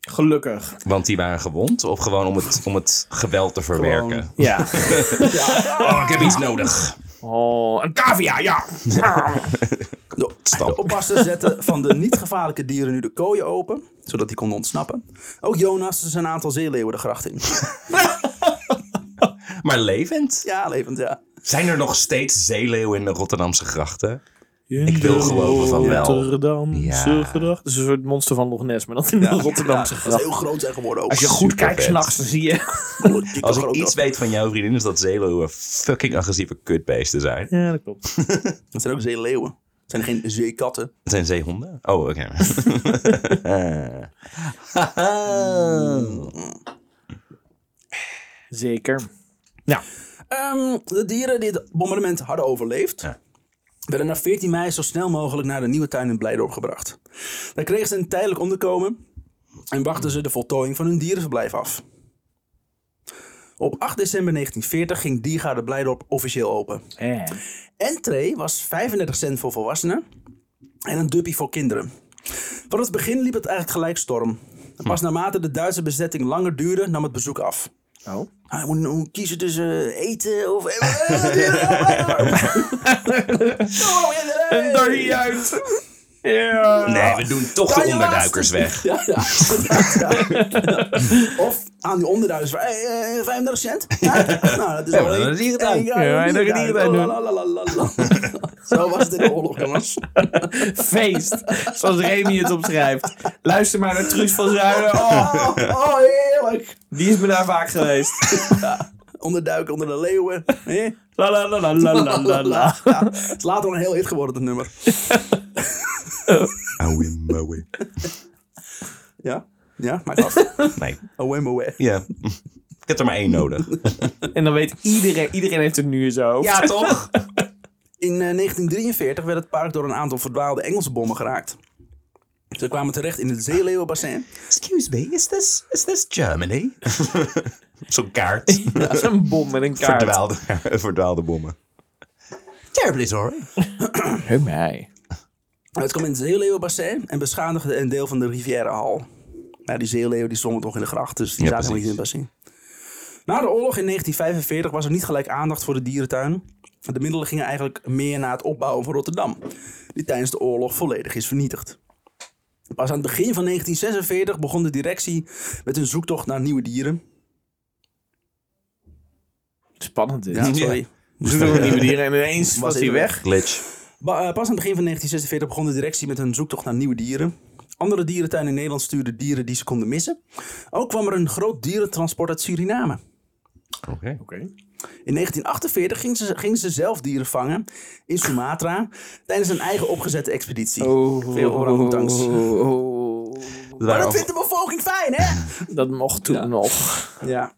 Speaker 2: Gelukkig.
Speaker 3: Want die waren gewond? Of gewoon om het, om het geweld te verwerken?
Speaker 2: Ja.
Speaker 3: Oh, ik heb iets nodig.
Speaker 2: Oh, een cavia, ja.
Speaker 1: De,
Speaker 3: Stam.
Speaker 1: de oppassers zetten van de niet-gevaarlijke dieren nu de kooien open, zodat die konden ontsnappen. Ook Jonas is een aantal zeeleeuwen de gracht in.
Speaker 3: Maar levend?
Speaker 1: Ja, levend, ja.
Speaker 3: Zijn er nog steeds zeeleeuwen in de Rotterdamse grachten? Ik wil geloven van wel.
Speaker 2: Rotterdamse
Speaker 3: Ja.
Speaker 2: gracht. Het is een soort monster van Loch Ness, maar dan in de Rotterdamse
Speaker 1: Dat is
Speaker 2: gracht.
Speaker 1: heel groot zijn geworden ook.
Speaker 2: Als je goed
Speaker 3: Super
Speaker 2: kijkt
Speaker 3: vet.
Speaker 2: s'nachts, dan zie je...
Speaker 1: Politiek
Speaker 3: Als
Speaker 1: toch
Speaker 3: ik
Speaker 1: ook
Speaker 3: iets
Speaker 1: dat.
Speaker 3: weet van jouw vriendin is dat zeeleeuwen fucking agressieve kutbeesten zijn.
Speaker 2: Ja, dat klopt.
Speaker 1: Dat zijn ook zeeleeuwen. Het zijn geen zeekatten.
Speaker 3: Het zijn zeehonden. Oh, oké.
Speaker 2: Zeker. Ja.
Speaker 1: Ehm, de dieren die het bombardement hadden overleefd...
Speaker 3: Ja.
Speaker 1: werden na 14 mei zo snel mogelijk naar de nieuwe tuin in Blijdorp gebracht. Daar kregen ze een tijdelijk onderkomen... en wachten ze de voltooiing van hun dierenverblijf af. Op 8 december 1940 ging Diergaarde Blijdorp officieel open.
Speaker 2: Eh.
Speaker 1: Entree was 35 cent voor volwassenen en een duppie voor kinderen. Van het begin liep het eigenlijk gelijk storm. Pas naarmate de Duitse bezetting langer duurde, nam het bezoek af.
Speaker 2: Oh.
Speaker 1: Hij moet moet kiezen tussen eh, eten of... eh,
Speaker 2: En daar hieruit. Ja.
Speaker 3: Nee, we doen toch
Speaker 1: Kan
Speaker 3: de
Speaker 1: je
Speaker 3: onderduikers
Speaker 1: laatst-
Speaker 3: weg.
Speaker 1: Ja, ja. Of aan die onderduikers. eh, eh, 35 cent? Ja, nou, dat is
Speaker 3: maar
Speaker 1: wel
Speaker 3: dan
Speaker 1: een
Speaker 3: is hier het uit.
Speaker 1: Ja,
Speaker 2: Ja, en dan is hier
Speaker 1: Oh,
Speaker 2: het uit.
Speaker 1: Lalalala. Zo was het in de oorlog, jongens.
Speaker 2: Feest. Zoals Remy het opschrijft. Luister maar naar Truus van Zuiden. Oh,
Speaker 1: Oh, oh, heerlijk.
Speaker 2: die is me daar vaak geweest.
Speaker 1: Onderduiken onder de leeuwen. hè?
Speaker 2: La la la la la la la la.
Speaker 1: Ja, het is later nog een heel hit geworden, dat nummer.
Speaker 3: Auwe, mauwe.
Speaker 1: Ja, ja maakt af.
Speaker 3: Nee,
Speaker 1: Away, away.
Speaker 3: ja. Ik heb er maar één nodig.
Speaker 2: En dan weet iedereen, iedereen heeft het nu in zijn hoofd.
Speaker 3: Ja, toch?
Speaker 1: In eh, 1943 werd het park door een aantal verdwaalde Engelse bommen geraakt. Ze kwamen terecht in het zeeleeuwenbassin.
Speaker 3: Excuse me, is this, is this Germany? Zo'n kaart.
Speaker 2: Dat is een bom met een kaart.
Speaker 3: Verdwaalde, verdwaalde bommen. Terribly sorry.
Speaker 2: Hé mij.
Speaker 1: Het kwam in het zeeleeuwenbassin en beschadigde een deel van de Rivierenhal. Nou, die zeeleeuwen die zwommen toch in de gracht, dus die
Speaker 3: Ja,
Speaker 1: zaten helemaal niet in het bassin. Na de oorlog in 1945 was er niet gelijk aandacht voor de dierentuin. De middelen gingen eigenlijk meer naar het opbouwen van Rotterdam, die tijdens de oorlog volledig is vernietigd. Pas aan het begin van 1946 begon de directie met een zoektocht naar nieuwe dieren.
Speaker 2: Spannend dit.
Speaker 1: Ja, sorry.
Speaker 2: Ze wilden nieuwe dieren en ineens was hij
Speaker 1: even
Speaker 2: weg.
Speaker 3: Glitch.
Speaker 1: Ba- eh, pas aan het begin van 1946 begon de directie met een zoektocht naar nieuwe dieren. Andere dierentuinen in Nederland stuurden dieren die ze konden missen. Ook kwam er een groot dierentransport uit Suriname.
Speaker 3: Oké.
Speaker 1: In 1948 ging ze, ging ze zelf dieren vangen in Sumatra tijdens een eigen opgezette expeditie.
Speaker 3: Oh.
Speaker 1: Veel orangutangs.
Speaker 2: Oh, oh, oh.
Speaker 3: Het
Speaker 1: Maar
Speaker 3: waren,
Speaker 1: dat
Speaker 3: af-
Speaker 1: vindt de bevolking fijn, hè?
Speaker 2: Dat mocht toen nog.
Speaker 1: Ja.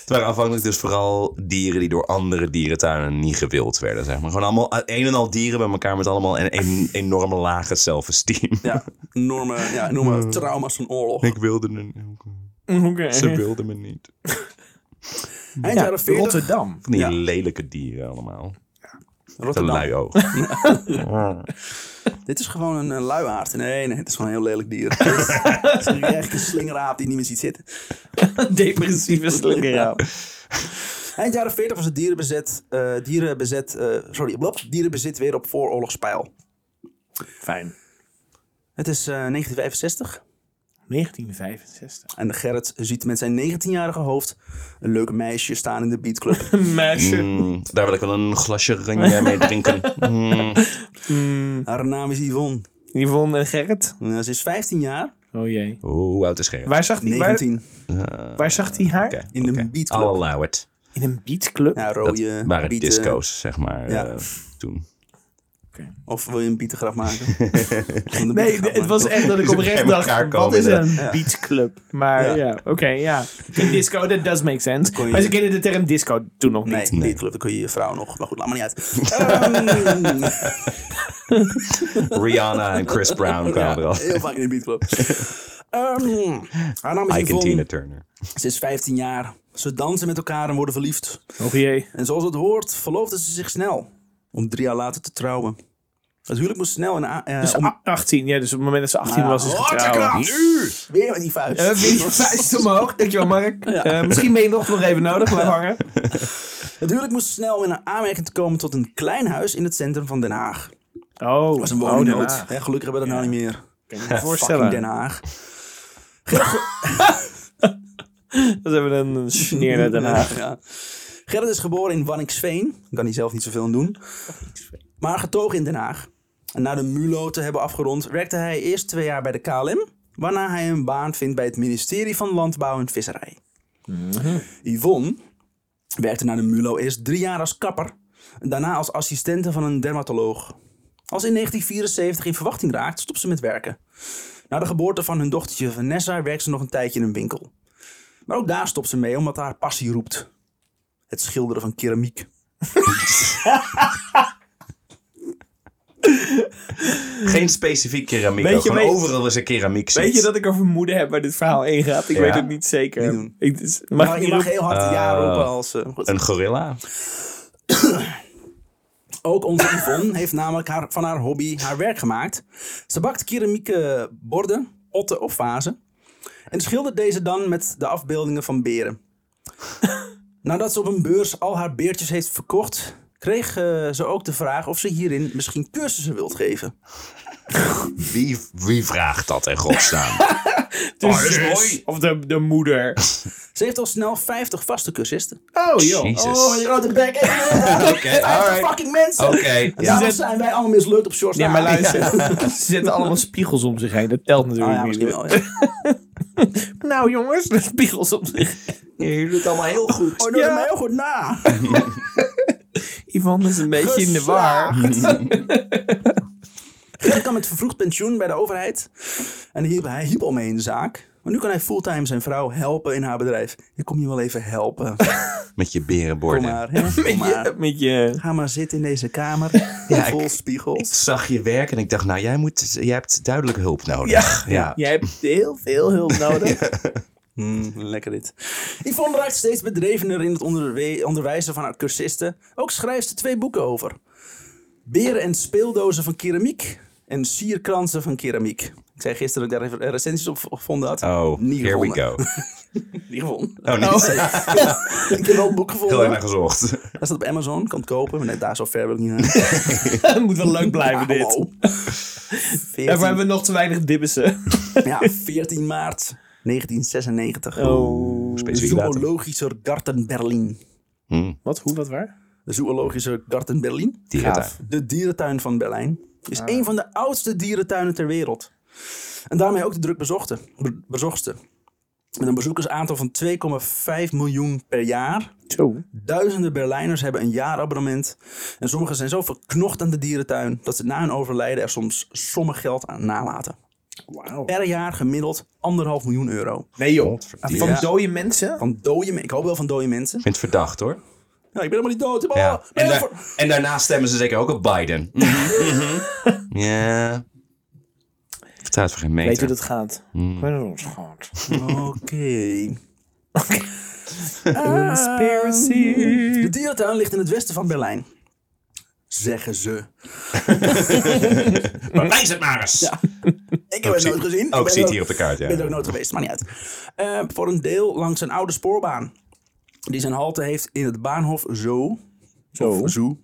Speaker 3: het waren afhankelijk dus vooral dieren die door andere dierentuinen niet gewild werden. Zeg maar. Gewoon allemaal eh, een en al dieren bij elkaar met allemaal een, een enorme lage zelfesteem.
Speaker 1: Ja, enorme, ja, enorme trauma's van oorlog.
Speaker 3: Mm. Ik wilde me,
Speaker 2: Oké.
Speaker 3: ze wilden me niet.
Speaker 1: Eind
Speaker 2: Ja,
Speaker 1: jaren 40,
Speaker 2: Rotterdam.
Speaker 3: Van die
Speaker 1: Ja.
Speaker 3: lelijke dieren allemaal. Te
Speaker 1: Rotterdam.
Speaker 3: lui oog.
Speaker 1: Dit is gewoon een, eh, luiaard. Nee, nee, het is gewoon een heel lelijk dier. Het is een echte slingeraap die niet meer ziet zitten.
Speaker 2: Depressieve slingeraap.
Speaker 1: Eind jaren 40 was het dierenbezet, eh, dierenbezet, eh, sorry, blop, dierenbezit weer op vooroorlogspeil.
Speaker 2: Fijn.
Speaker 1: Het is eh, 1965
Speaker 2: 1965.
Speaker 1: en Gerrit ziet met zijn 19-jarige hoofd een leuk meisje staan in de beatclub.
Speaker 2: Een meisje.
Speaker 3: Mm, daar wil ik wel een glasje ranja mee drinken. Mm.
Speaker 1: Haar naam is Yvonne.
Speaker 2: Yvonne en Gerrit.
Speaker 1: Eh, ze is 15 jaar,
Speaker 2: Oh jee.
Speaker 3: Oh, hoe oud is Gerrit?
Speaker 2: Waar zag hij, waar,
Speaker 1: 19,
Speaker 2: waar zag hij haar?
Speaker 3: Oké,
Speaker 1: in de
Speaker 3: oké.
Speaker 1: beatclub.
Speaker 3: I'll allow it.
Speaker 2: In een beatclub.
Speaker 1: Ja,
Speaker 3: Dat
Speaker 1: rode
Speaker 3: waren
Speaker 1: bieten.
Speaker 3: disco's, zeg maar,
Speaker 1: Ja.
Speaker 3: eh, toen.
Speaker 1: Of wil je een bietengraf maken?
Speaker 2: Nee, het was echt dat ik
Speaker 3: Ze
Speaker 2: oprecht
Speaker 3: bij elkaar
Speaker 2: dacht, wat
Speaker 3: komen,
Speaker 2: is
Speaker 3: ja.
Speaker 2: een beatclub? Maar
Speaker 1: Ja.
Speaker 2: ja, oké, ja. Een disco, that does make sense.
Speaker 1: kon je-
Speaker 2: Maar ze kenden de term disco toen nog
Speaker 1: Nee,
Speaker 2: niet.
Speaker 1: nee. beatclub, dan kun je je vrouw nog. Maar goed, laat maar niet uit. Ehm,
Speaker 3: Rihanna en Chris Brown kwamen er
Speaker 1: ja,
Speaker 3: al.
Speaker 1: heel vaak in de beatclub. Ehm, haar naam is
Speaker 3: Ike en Tina
Speaker 1: Yvonne.
Speaker 3: Turner.
Speaker 1: Ze is 15 jaar. Ze dansen met elkaar en worden verliefd.
Speaker 2: Oh jee.
Speaker 1: En zoals het hoort, verloofden ze zich snel. Om drie jaar later te trouwen. Het huwelijk moest snel en... a- eh,
Speaker 2: Dus
Speaker 1: om-
Speaker 2: a- 18, ja, dus op het moment dat ze 18 was, is
Speaker 1: Ah,
Speaker 2: ze
Speaker 1: wat een
Speaker 2: getrouwd.
Speaker 1: knap! Weer met die vuist.
Speaker 2: Eh, Vinnie, vuist omhoog. Dankjewel, Mark. Eh, misschien ben je nog nog even nodig. Blijf hangen.
Speaker 1: Het huwelijk moest snel in aanmerking te komen tot een klein huis in het centrum van Den Haag.
Speaker 2: Oh,
Speaker 1: Dat was een woningnood. Hè, gelukkig hebben we dat nou niet meer.
Speaker 2: Kan je me
Speaker 1: Fucking Den
Speaker 2: voorstellen.
Speaker 1: Haag.
Speaker 2: Dat hebben we een sneer naar Den Haag.
Speaker 1: Ja. Gerrit is geboren in Wanniksveen. Kan hij zelf niet zoveel aan doen. Maar getogen in Den Haag. En na de MULO te hebben afgerond, werkte hij eerst twee jaar bij de KLM. Waarna hij een baan vindt bij het ministerie van Landbouw en Visserij. Yvonne werkte na de MULO eerst drie jaar als kapper. En daarna als assistente van een dermatoloog. Als ze in 1974 in verwachting raakt, stopt ze met werken. Na de geboorte van hun dochtertje Vanessa werkt ze nog een tijdje in een winkel. Maar ook daar stopt ze mee omdat haar passie roept. Het schilderen van keramiek.
Speaker 3: Geen specifiek keramiek,
Speaker 2: Weet
Speaker 3: ook,
Speaker 2: je,
Speaker 3: gewoon
Speaker 2: weet-
Speaker 3: overal is er keramiek zit.
Speaker 2: Weet je dat ik een vermoeden heb waar dit verhaal heen gaat? Ik
Speaker 3: Ja.
Speaker 2: weet het niet zeker.
Speaker 1: Niet doen.
Speaker 2: Ik, Nou, het is- mag
Speaker 1: Maar
Speaker 2: ik
Speaker 1: je
Speaker 2: niet
Speaker 1: mag
Speaker 2: roepen?
Speaker 1: heel hard ja roepen als... eh, goed.
Speaker 3: Een gorilla?
Speaker 1: Ook onze Yvonne heeft namelijk haar, van haar hobby haar werk gemaakt. Ze bakt keramieke borden, potten of vazen. En schildert deze dan met de afbeeldingen van beren. Nadat ze op een beurs al haar beertjes heeft verkocht... kreeg eh, ze ook de vraag of ze hierin misschien cursussen wilt geven.
Speaker 3: Wie, wie vraagt dat in godsnaam?
Speaker 2: De
Speaker 3: Oh, dat is
Speaker 2: zus
Speaker 3: mooi.
Speaker 2: Of de, de moeder.
Speaker 1: Ze heeft al snel 50 vaste cursisten.
Speaker 2: Oh joh.
Speaker 3: Jezus.
Speaker 1: Oh, je grote bek.
Speaker 3: Oké, alright. Oh,
Speaker 1: fucking mensen.
Speaker 3: Oké. ja.
Speaker 1: Daarom zijn wij allemaal mislukt op Shorts.
Speaker 2: Ja, maar luister. Ze zetten allemaal spiegels om zich heen. Dat telt
Speaker 1: Oh,
Speaker 2: natuurlijk
Speaker 1: ja, misschien
Speaker 2: niet.
Speaker 1: wel. ja.
Speaker 2: Nou jongens, de spiegels om zich heen.
Speaker 3: Jullie doen het allemaal heel goed.
Speaker 1: Oh, doe
Speaker 2: Ja.
Speaker 1: mij heel goed na.
Speaker 2: Yvonne is een beetje in de war.
Speaker 1: Gerrit kan met vervroegd pensioen bij de overheid. En hier, hij hielp al mee in de zaak. Maar nu kan hij fulltime zijn vrouw helpen in haar bedrijf. Ik kom je wel even helpen.
Speaker 3: Met je
Speaker 1: Kom
Speaker 3: berenborden.
Speaker 1: maar, hè. Kom maar.
Speaker 2: Met je...
Speaker 1: Ga maar zitten in deze kamer. Vol
Speaker 3: Ik
Speaker 1: spiegels.
Speaker 3: zag je werk en ik dacht, nou, jij, moet, jij hebt duidelijk hulp nodig. Ja.
Speaker 2: Jij hebt heel veel hulp nodig.
Speaker 1: Mm, lekker dit. Yvonne raakt steeds bedrevener in het onderwe- onderwijzen van haar cursisten. Ook schrijft ze twee boeken over. Beren en speeldozen van keramiek en sierkransen van keramiek. Ik zei gisteren dat ik daar even recensies op v- gevonden had.
Speaker 3: Oh,
Speaker 1: Niet
Speaker 3: here we
Speaker 1: gevonden.
Speaker 3: go.
Speaker 1: Niet gevonden.
Speaker 3: Oh, niet.
Speaker 1: ik heb wel een boek
Speaker 3: Heel erg
Speaker 1: gevonden.
Speaker 3: naar gezocht.
Speaker 1: Dat staat op Amazon, kan het kopen. Maar nee, daar zo ver wil ik niet naar.
Speaker 2: Moet wel leuk blijven dit.
Speaker 1: Hallo.
Speaker 2: Daarvoor
Speaker 1: 14,
Speaker 2: hebben we nog te weinig dibbissen.
Speaker 1: ja, 14 maart 1996.
Speaker 2: Oh.
Speaker 1: De
Speaker 3: Specifiek datum.
Speaker 1: zoologische Garten Berlin.
Speaker 2: Wat? Hoe? Wat? Waar?
Speaker 1: De zoologische Garten Berlin.
Speaker 3: Dierentuin.
Speaker 1: De dierentuin van Berlijn is
Speaker 2: Ah.
Speaker 1: een van de oudste dierentuinen ter wereld. En daarmee ook de druk bezochte, be- bezochtste. Met een bezoekersaantal van 2,5 miljoen per jaar.
Speaker 2: Zo.
Speaker 1: Duizenden Berlijners hebben een jaarabonnement. En sommigen zijn zo verknocht aan de dierentuin dat ze na hun overlijden er soms sommen geld aan nalaten.
Speaker 2: Wauw.
Speaker 1: Per jaar gemiddeld anderhalf miljoen euro.
Speaker 2: Nee joh.
Speaker 3: Godverdier.
Speaker 2: Van
Speaker 1: Ja.
Speaker 2: dode mensen?
Speaker 1: Van dode men- Ik hoop wel van dode mensen.
Speaker 3: Ik vind het verdacht hoor.
Speaker 1: Ja, ik ben helemaal niet dood. Ik ben
Speaker 3: Ja.
Speaker 1: allemaal- ik ben
Speaker 3: En, daar-
Speaker 1: voor-
Speaker 3: en daarna stemmen ze zeker ook op Biden. oh, Mhm, mhm. Ja. Vertel het voor geen meter.
Speaker 2: Weet hoe dat gaat? Ik weet hoe dat gaat.
Speaker 1: Oké.
Speaker 2: Conspiracy.
Speaker 1: De dierentuin ligt in het westen van Berlijn. Zeggen ze.
Speaker 4: Bewijs het maar eens.
Speaker 1: Ik heb het
Speaker 3: zie-
Speaker 1: nooit gezien. Ik
Speaker 3: ook
Speaker 1: ben
Speaker 3: ziet
Speaker 1: er-
Speaker 3: hier op de kaart, ja.
Speaker 1: Ik ben er ook nooit geweest, maar niet uit. Eh, voor een deel langs een oude spoorbaan. Die zijn halte heeft in het Bahnhof Zoo. Zo. Zoo.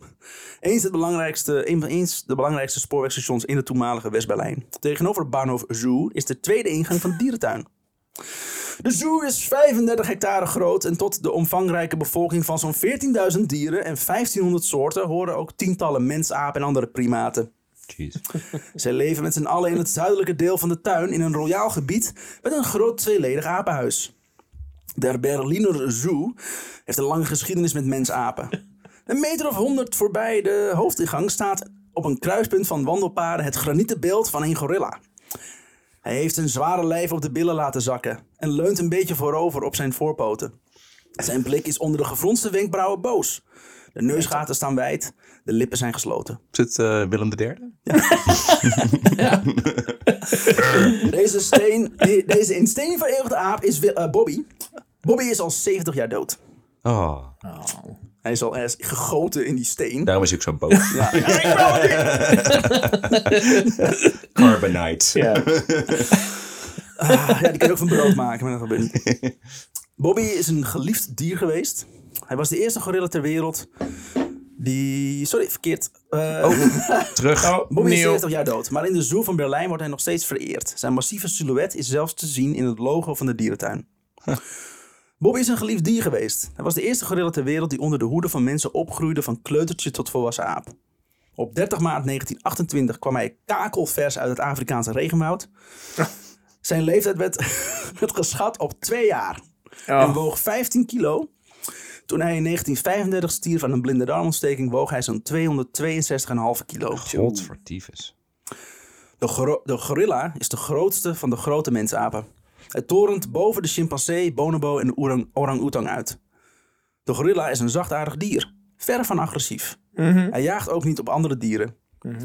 Speaker 1: Eens, het belangrijkste, een van eens de belangrijkste spoorwegstations in het toenmalige West-Berlijn. Tegenover het Bahnhof Zoo is de tweede ingang van de dierentuin. De zoo is 35 hectare groot en tot de omvangrijke bevolking van zo'n 14.000 dieren en 1500 soorten horen ook tientallen mensapen en andere primaten.
Speaker 3: Jeez.
Speaker 1: Zij leven met z'n allen in het zuidelijke deel van de tuin in een royaal gebied met een groot tweeledig apenhuis. Der Berliner Zoo heeft een lange geschiedenis met mensapen. Een meter of honderd voorbij de hoofdingang staat op een kruispunt van wandelpaden het granieten beeld van een gorilla. Hij heeft zijn zware lijf op de billen laten zakken en leunt een beetje voorover op zijn voorpoten. Zijn blik is onder de gefronste wenkbrauwen boos. De neusgaten staan wijd, de lippen zijn gesloten.
Speaker 3: Is het eh, Willem III?
Speaker 1: Deze, steen, die- deze in steen vereeuwigde aap is Wi- eh, Bobby. Bobby is al 70 jaar dood.
Speaker 3: Oh,
Speaker 1: Hij is al eerst gegoten in die steen.
Speaker 3: daarom is hij ook zo boos.
Speaker 1: Ja,
Speaker 3: Carbonite.
Speaker 2: Ja.
Speaker 1: Ah, ja, die kun je ook van brood maken, maar dat gebeurt niet. Bobby is een geliefd dier geweest. Hij was de eerste gorilla ter wereld die... Sorry, verkeerd. Eh,
Speaker 3: Terug.
Speaker 1: Bobby is
Speaker 2: Neil.
Speaker 1: 70 jaar dood, maar in de zoo van Berlijn wordt hij nog steeds vereerd. Zijn massieve silhouet is zelfs te zien in het logo van de dierentuin. Bobby is een geliefd dier geweest. Hij was de eerste gorilla ter wereld die onder de hoede van mensen opgroeide van kleutertje tot volwassen aap. Op 30 maart 1928 kwam hij kakelvers uit het Afrikaanse regenwoud. Zijn leeftijd werd, werd geschat op twee jaar en
Speaker 2: Oh.
Speaker 1: woog 15 kilo. Toen hij in 1935 stierf aan een blinde darmontsteking, woog hij zo'n 262,5 kilo.
Speaker 3: Godverdiefes.
Speaker 1: De, goro- de gorilla is de grootste van de grote mensapen. Het torent boven de chimpansee, bonobo en de orang- orang-oetang uit. De gorilla is een zachtaardig dier, ver van agressief. Hij jaagt ook niet op andere dieren.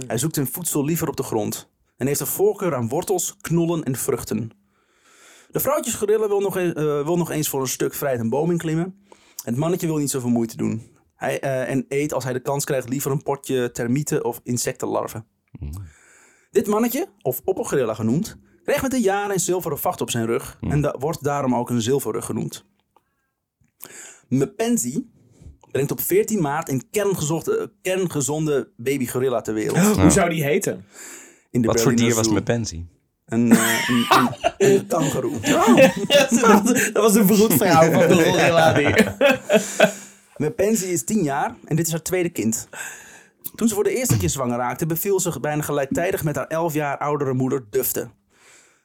Speaker 1: Hij zoekt zijn voedsel liever op de grond en heeft een voorkeur aan wortels, knollen en vruchten. De vrouwtjesgorilla wil nog, e- eh, wil nog eens voor een stuk vrijheid een boom inklimmen. Het mannetje wil niet zoveel moeite doen. Hij, eh, en eet als hij de kans krijgt liever een potje termieten of insectenlarven.
Speaker 3: Mm.
Speaker 1: Dit mannetje, of oppergorilla genoemd, kreeg met de jaren een zilveren vacht op zijn rug
Speaker 3: Mm.
Speaker 1: en da- wordt daarom ook een zilverrug genoemd. Mpenzi brengt op 14 maart een kerngezochte- kerngezonde babygorilla ter wereld.
Speaker 2: Hoe zou die heten?
Speaker 1: In de
Speaker 3: Oh, Wat voor
Speaker 1: Berliner
Speaker 3: dier was
Speaker 1: Zoo.
Speaker 3: mijn pensie?
Speaker 1: Een, eh, een, een, een kangoeroe.
Speaker 3: Oh.
Speaker 2: dat was een vroedvrouw van de gorilla.
Speaker 1: Mijn pensie is 10 jaar en dit is haar tweede kind. Toen ze voor de eerste keer zwanger raakte, beviel ze bijna gelijktijdig met haar 11 jaar oudere moeder Dufte.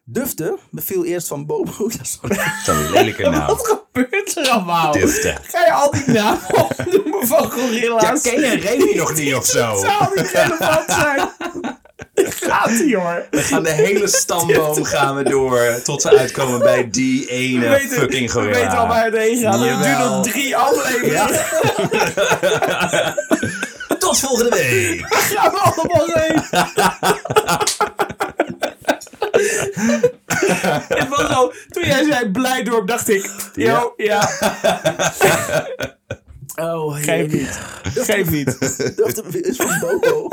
Speaker 1: Dufte beviel eerst van Bobo. Ja, sorry.
Speaker 3: Zo'n lelijke naam.
Speaker 2: Wat gebeurt er allemaal?
Speaker 3: Dufte.
Speaker 2: Ga je al die namen opnoemen van gorilla's?
Speaker 3: ken je Remy nog niet of zo?
Speaker 2: Dat zou niet relevant zijn. Gaat ie hoor.
Speaker 3: Aan de hele stamboom gaan we door tot we uitkomen bij die
Speaker 2: We
Speaker 3: ene
Speaker 2: weten,
Speaker 3: fucking
Speaker 2: we
Speaker 3: gorilla.
Speaker 2: weten al waar het heen gaat. Het duurt
Speaker 3: Jawel.
Speaker 2: nog drie afleveringen.
Speaker 3: Tot volgende week!
Speaker 2: Gaan we allemaal heen. Het was al, toen jij zei Blijdorp, dacht ik, yo, ja.
Speaker 1: Oh, Oh,
Speaker 2: Geef
Speaker 1: heerlijk.
Speaker 2: niet. Geef niet.
Speaker 1: Dat is van Boko.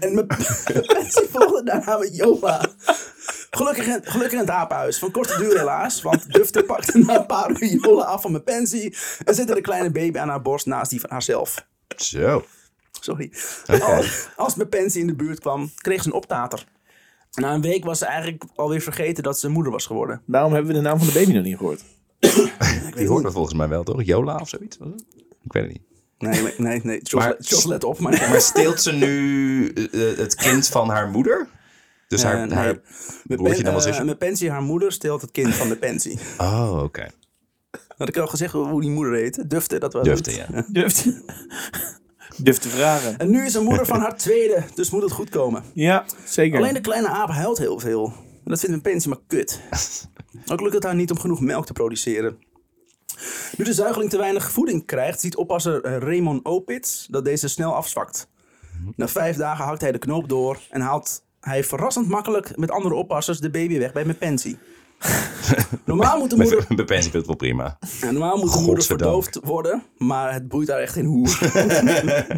Speaker 1: En mijn mensen volgden daarna met Joma. Gelukkig, in- gelukkig in het apenhuis. Van korte duur helaas. Want Dufte pakte na een paar uur Jola af van mijn pensie. En zette de kleine baby aan haar borst naast die van haarzelf.
Speaker 3: Zo.
Speaker 1: Sorry. Als, als mijn pensie in de buurt kwam, kreeg ze een optater. Na een week was ze eigenlijk alweer vergeten dat ze moeder was geworden.
Speaker 2: Daarom hebben we de naam van de baby nog niet gehoord.
Speaker 3: Die hoort dat volgens mij wel, toch? Jola of zoiets? was het? Ik weet het niet.
Speaker 1: Nee, nee, nee. nee. Jos,
Speaker 3: Maar-
Speaker 1: Jos, let op. Maar,
Speaker 3: Maar steelt ze nu eh, eh, het kind van haar moeder? Dus haar,
Speaker 1: Eh, nee.
Speaker 3: haar
Speaker 1: Mijn
Speaker 3: broertje
Speaker 1: pen-
Speaker 3: dan wel
Speaker 1: eh,
Speaker 3: zusje?
Speaker 1: Mijn pensie, haar moeder, steelt het kind van de pensie.
Speaker 3: Oh, oké.
Speaker 1: Had ik al gezegd hoe die moeder heette? Dufte, dat was
Speaker 3: Durfde, ja.
Speaker 2: Durft. Durft te vragen.
Speaker 1: En nu is een moeder van haar tweede, dus moet het goed komen.
Speaker 2: Ja, zeker.
Speaker 1: Alleen de kleine aap huilt heel veel. En dat vindt mijn pensie maar kut. Ook lukt het haar niet om genoeg melk te produceren. Nu de zuigeling te weinig voeding krijgt, ziet oppasser eh, Raymond Opitz dat deze snel afzwakt.
Speaker 3: Mhm.
Speaker 1: Na vijf dagen hakt hij de knoop door en haalt hij verrassend makkelijk met andere oppassers de baby weg bij mijn pensie. Normaal moet de moeder
Speaker 3: Met beperking vindt het wel prima.
Speaker 1: ja, normaal moet de moeder
Speaker 3: Godverdank.
Speaker 1: verdoofd worden, maar het boeit daar echt geen hoe.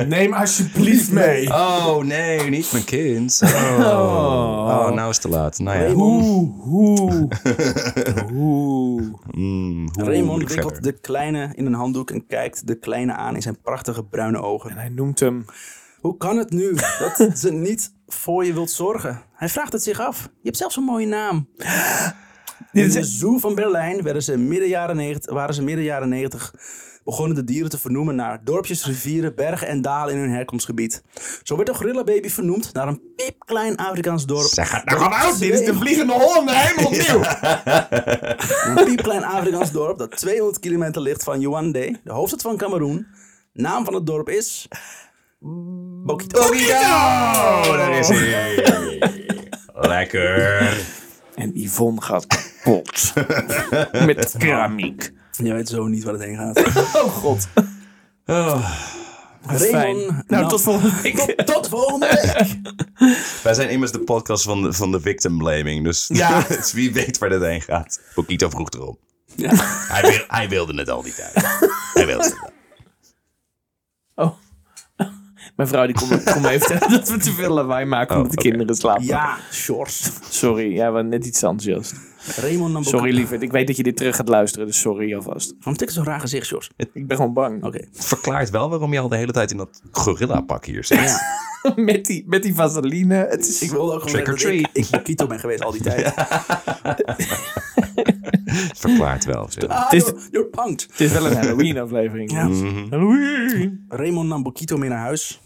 Speaker 2: Neem alsjeblieft mee.
Speaker 3: Oh, nee, niet mijn kind. Oh, oh nou is het te laat. Nou ja.
Speaker 1: Raymond,
Speaker 2: Oeh, oeh. Oeh.
Speaker 3: Mm, hoe moet
Speaker 1: Raymond
Speaker 3: ik
Speaker 1: wikkelt
Speaker 3: verder?
Speaker 1: de kleine in een handdoek en kijkt de kleine aan in zijn prachtige bruine ogen.
Speaker 2: Hij noemt hem.
Speaker 1: Hoe kan het nu dat ze niet voor je wilt zorgen? Hij vraagt het zich af. Je hebt zelfs een mooie naam. In de zoo van Berlijn werden ze midden jaren 90, waren ze midden jaren 90 begonnen de dieren te vernoemen naar dorpjes, rivieren, bergen en dalen in hun herkomstgebied. Zo werd de gorillababy vernoemd naar een piepklein Afrikaans dorp
Speaker 3: Zeg het
Speaker 4: Daar
Speaker 3: nou.
Speaker 4: gaan we uit. Dit is de vliegende Hollander helemaal opnieuw.
Speaker 1: Een piepklein Afrikaans dorp dat 200 kilometer ligt van Yaoundé, de hoofdstad van Cameroen. Naam van het dorp is...
Speaker 3: Eh,
Speaker 1: Bokito.
Speaker 3: Oh, daar is hij. Lekker.
Speaker 2: En Yvonne gaat kapot. Met keramiek.
Speaker 1: Je weet zo niet waar het heen gaat. Ah.
Speaker 2: Oh god. Fijn.
Speaker 1: Raymond...
Speaker 2: Nou, tot volgende week.
Speaker 1: tot, tot volgende week.
Speaker 3: Wij zijn immers de podcast van de, van de victim blaming. Dus,
Speaker 2: Ja.
Speaker 3: dus wie weet waar dit heen gaat. Bokito vroeg erom.
Speaker 1: Ja.
Speaker 3: Hij, wil- hij wilde het al die tijd. Hij wilde het. wel.
Speaker 2: Oh. Mijn vrouw die kon, kon me even vertellen dat we te veel lawaai maken omdat de
Speaker 3: oké.
Speaker 2: kinderen slapen.
Speaker 1: Ja, shorts.
Speaker 2: Sorry, jij was net iets te enthousiast.
Speaker 1: Raymond Nambokito.
Speaker 2: Sorry lieverd, ik weet dat je dit terug gaat luisteren, dus sorry alvast.
Speaker 1: Waarom tik zo'n raar gezicht, Shorts? Oké.
Speaker 2: Ik ben gewoon bang.
Speaker 3: Verklaart wel waarom je al de hele tijd in dat gorilla pak hier zit.
Speaker 1: Ja.
Speaker 2: met, die, met die vaseline. Het is...
Speaker 1: Ik wilde ook gewoon
Speaker 3: Trick or
Speaker 1: zeggen dat ik, ik Bokito ben geweest al die tijd.
Speaker 3: Verklaart wel. zeg.
Speaker 1: Ah,
Speaker 2: is- Mm.
Speaker 1: you're, you're punked.
Speaker 2: Het is wel een Halloween-aflevering.
Speaker 1: Ja.
Speaker 2: Halloween!
Speaker 1: Raymond nam Bokito mee naar huis.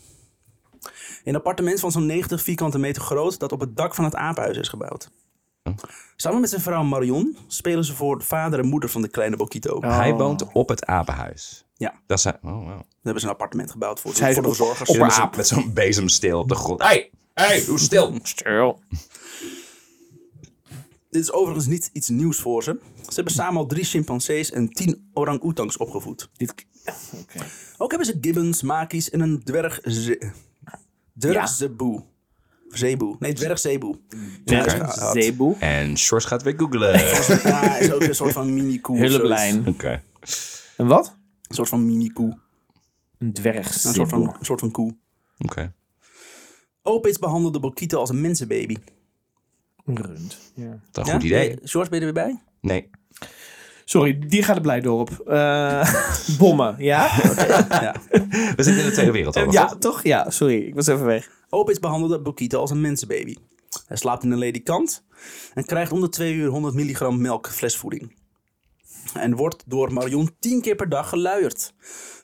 Speaker 1: Een appartement van zo'n 90 vierkante meter groot dat op het dak van het apenhuis is gebouwd. Samen met zijn vrouw Marion spelen ze voor vader en moeder van de kleine Bokito. Daar
Speaker 3: Hij woont op het apenhuis.
Speaker 1: Ja.
Speaker 3: Dat zijn. Oh, wow.
Speaker 1: hebben ze een appartement gebouwd voor,
Speaker 2: Zij
Speaker 1: de, voor de
Speaker 2: is op-
Speaker 1: verzorgers.
Speaker 2: op-
Speaker 3: Met zo'n- Met zo'n bezemsteel op de grond. Hey, hey, hoe stil.
Speaker 2: Stil.
Speaker 1: Dit is overigens niet iets nieuws voor ze. Ze hebben samen al drie chimpansees en tien orang-oetangs opgevoed.
Speaker 2: Dit...
Speaker 1: Ook hebben ze gibbons, makies en een dwerg... ze- Dwergzeeboe. Zeeboe. Nee, dwergzeeboe.
Speaker 2: Dwerg-
Speaker 1: Ja, is-
Speaker 2: Zeeboe.
Speaker 3: En Sjors gaat weer googlen. Oké.
Speaker 1: Ja, is ook een soort van mini-koe. of zoiets.
Speaker 2: Hulplijn. Een wat?
Speaker 1: Een soort van mini-koe.
Speaker 2: Een dwerg.
Speaker 1: Een soort van, een soort van koe.
Speaker 3: Oké.
Speaker 1: Opitz behandelde Bokito als een mensenbaby.
Speaker 2: Een rund. Ja.
Speaker 3: Dat
Speaker 1: Ja?
Speaker 3: een goed idee.
Speaker 1: Nee, George, ben je er weer bij?
Speaker 3: Nee.
Speaker 2: Sorry, die gaat er blij door op. Eh, bommen, ja?
Speaker 1: ja.
Speaker 3: We zitten in de Tweede Wereldoorlog.
Speaker 2: ja,
Speaker 3: toch?
Speaker 2: toch? Ja, sorry. Ik was even weg.
Speaker 1: Opitz behandelde Bokito als een mensenbaby. Hij slaapt in een ledikant en krijgt om de twee uur 100 milligram melk flesvoeding. En wordt door Marion tien keer per dag geluierd.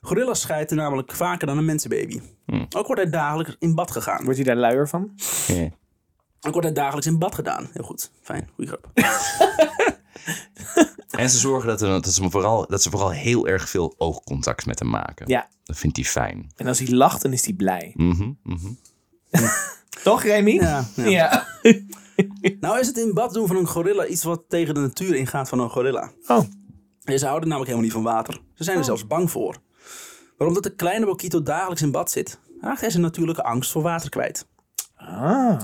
Speaker 1: Gorillas schijten namelijk vaker dan een mensenbaby. Ook wordt hij dagelijks in bad gegaan.
Speaker 2: Wordt hij daar luier van?
Speaker 3: Ja.
Speaker 1: Ook wordt hij dagelijks in bad gedaan. Heel goed. Fijn. Goeie grap.
Speaker 3: En ze zorgen dat, er- dat, ze hem vooral, dat ze vooral heel erg veel oogcontact met hem maken.
Speaker 2: Ja.
Speaker 3: Dat vindt hij fijn.
Speaker 2: En als hij lacht, dan is hij blij.
Speaker 3: Mhm, mhm.
Speaker 2: Toch, Remy?
Speaker 1: Ja, ja.
Speaker 2: Ja.
Speaker 1: Nou is het in bad doen van een gorilla iets wat tegen de natuur ingaat van een gorilla.
Speaker 2: Oh.
Speaker 1: En ze houden namelijk helemaal niet van water. Ze zijn er zelfs bang voor. Maar omdat de kleine Bokito dagelijks in bad zit, raakt hij zijn natuurlijke angst voor water kwijt.
Speaker 2: Ah. Wat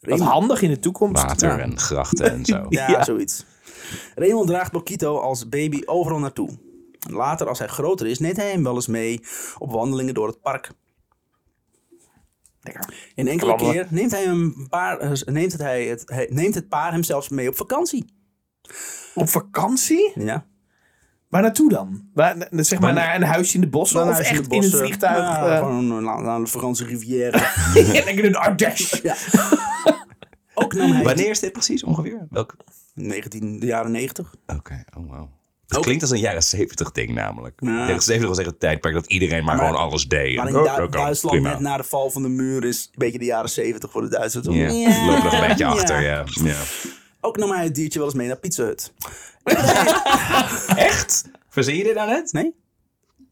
Speaker 1: Raymond-
Speaker 2: handig in de toekomst.
Speaker 3: Water
Speaker 1: Ja.
Speaker 3: en grachten en zo.
Speaker 1: Ja,
Speaker 2: Ja.
Speaker 1: zoiets. Raymond draagt Bokito als baby overal naartoe. Later, als hij groter is, neemt hij hem wel eens mee op wandelingen door het park. In enkele
Speaker 2: Wandelen.
Speaker 1: keer neemt, hij een paar, eh, neemt, het hij het, hij- neemt het paar hem zelfs mee op vakantie.
Speaker 2: Op vakantie?
Speaker 1: Ja.
Speaker 2: Waar naartoe dan? Waar, n- zeg maar naar een huisje in de bossen of
Speaker 1: Huis
Speaker 2: echt
Speaker 1: de
Speaker 2: in,
Speaker 1: bossen.
Speaker 2: het vliegtuig?
Speaker 1: Ja,
Speaker 2: eh,
Speaker 1: Gewoon eh, naar naar de Franse Riviera.
Speaker 2: lekker in de Ardèche.
Speaker 1: ja. Ook nam hij
Speaker 3: Wanneer is dit precies ongeveer? Welk?
Speaker 1: 19 de jaren 90.
Speaker 3: Oké, oh wow. Het klinkt als een jaren 70 ding namelijk.
Speaker 1: Ja.
Speaker 3: Jaren 70 was echt een tijdperk dat iedereen maar, gewoon alles deed.
Speaker 1: Maar in
Speaker 3: Oh,
Speaker 1: Du-
Speaker 3: oké,
Speaker 1: Duitsland,
Speaker 3: prima.
Speaker 1: net na de val van de muur, is een beetje de jaren 70 voor de Duitsers. toch?
Speaker 3: Ja,
Speaker 1: Ja.
Speaker 3: loop nog een beetje
Speaker 1: Ja.
Speaker 3: achter, ja. ja.
Speaker 1: Ook nam hij het diertje wel eens mee naar Pizza Hut.
Speaker 3: Echt? Verzin je dit aan het?
Speaker 1: Nee?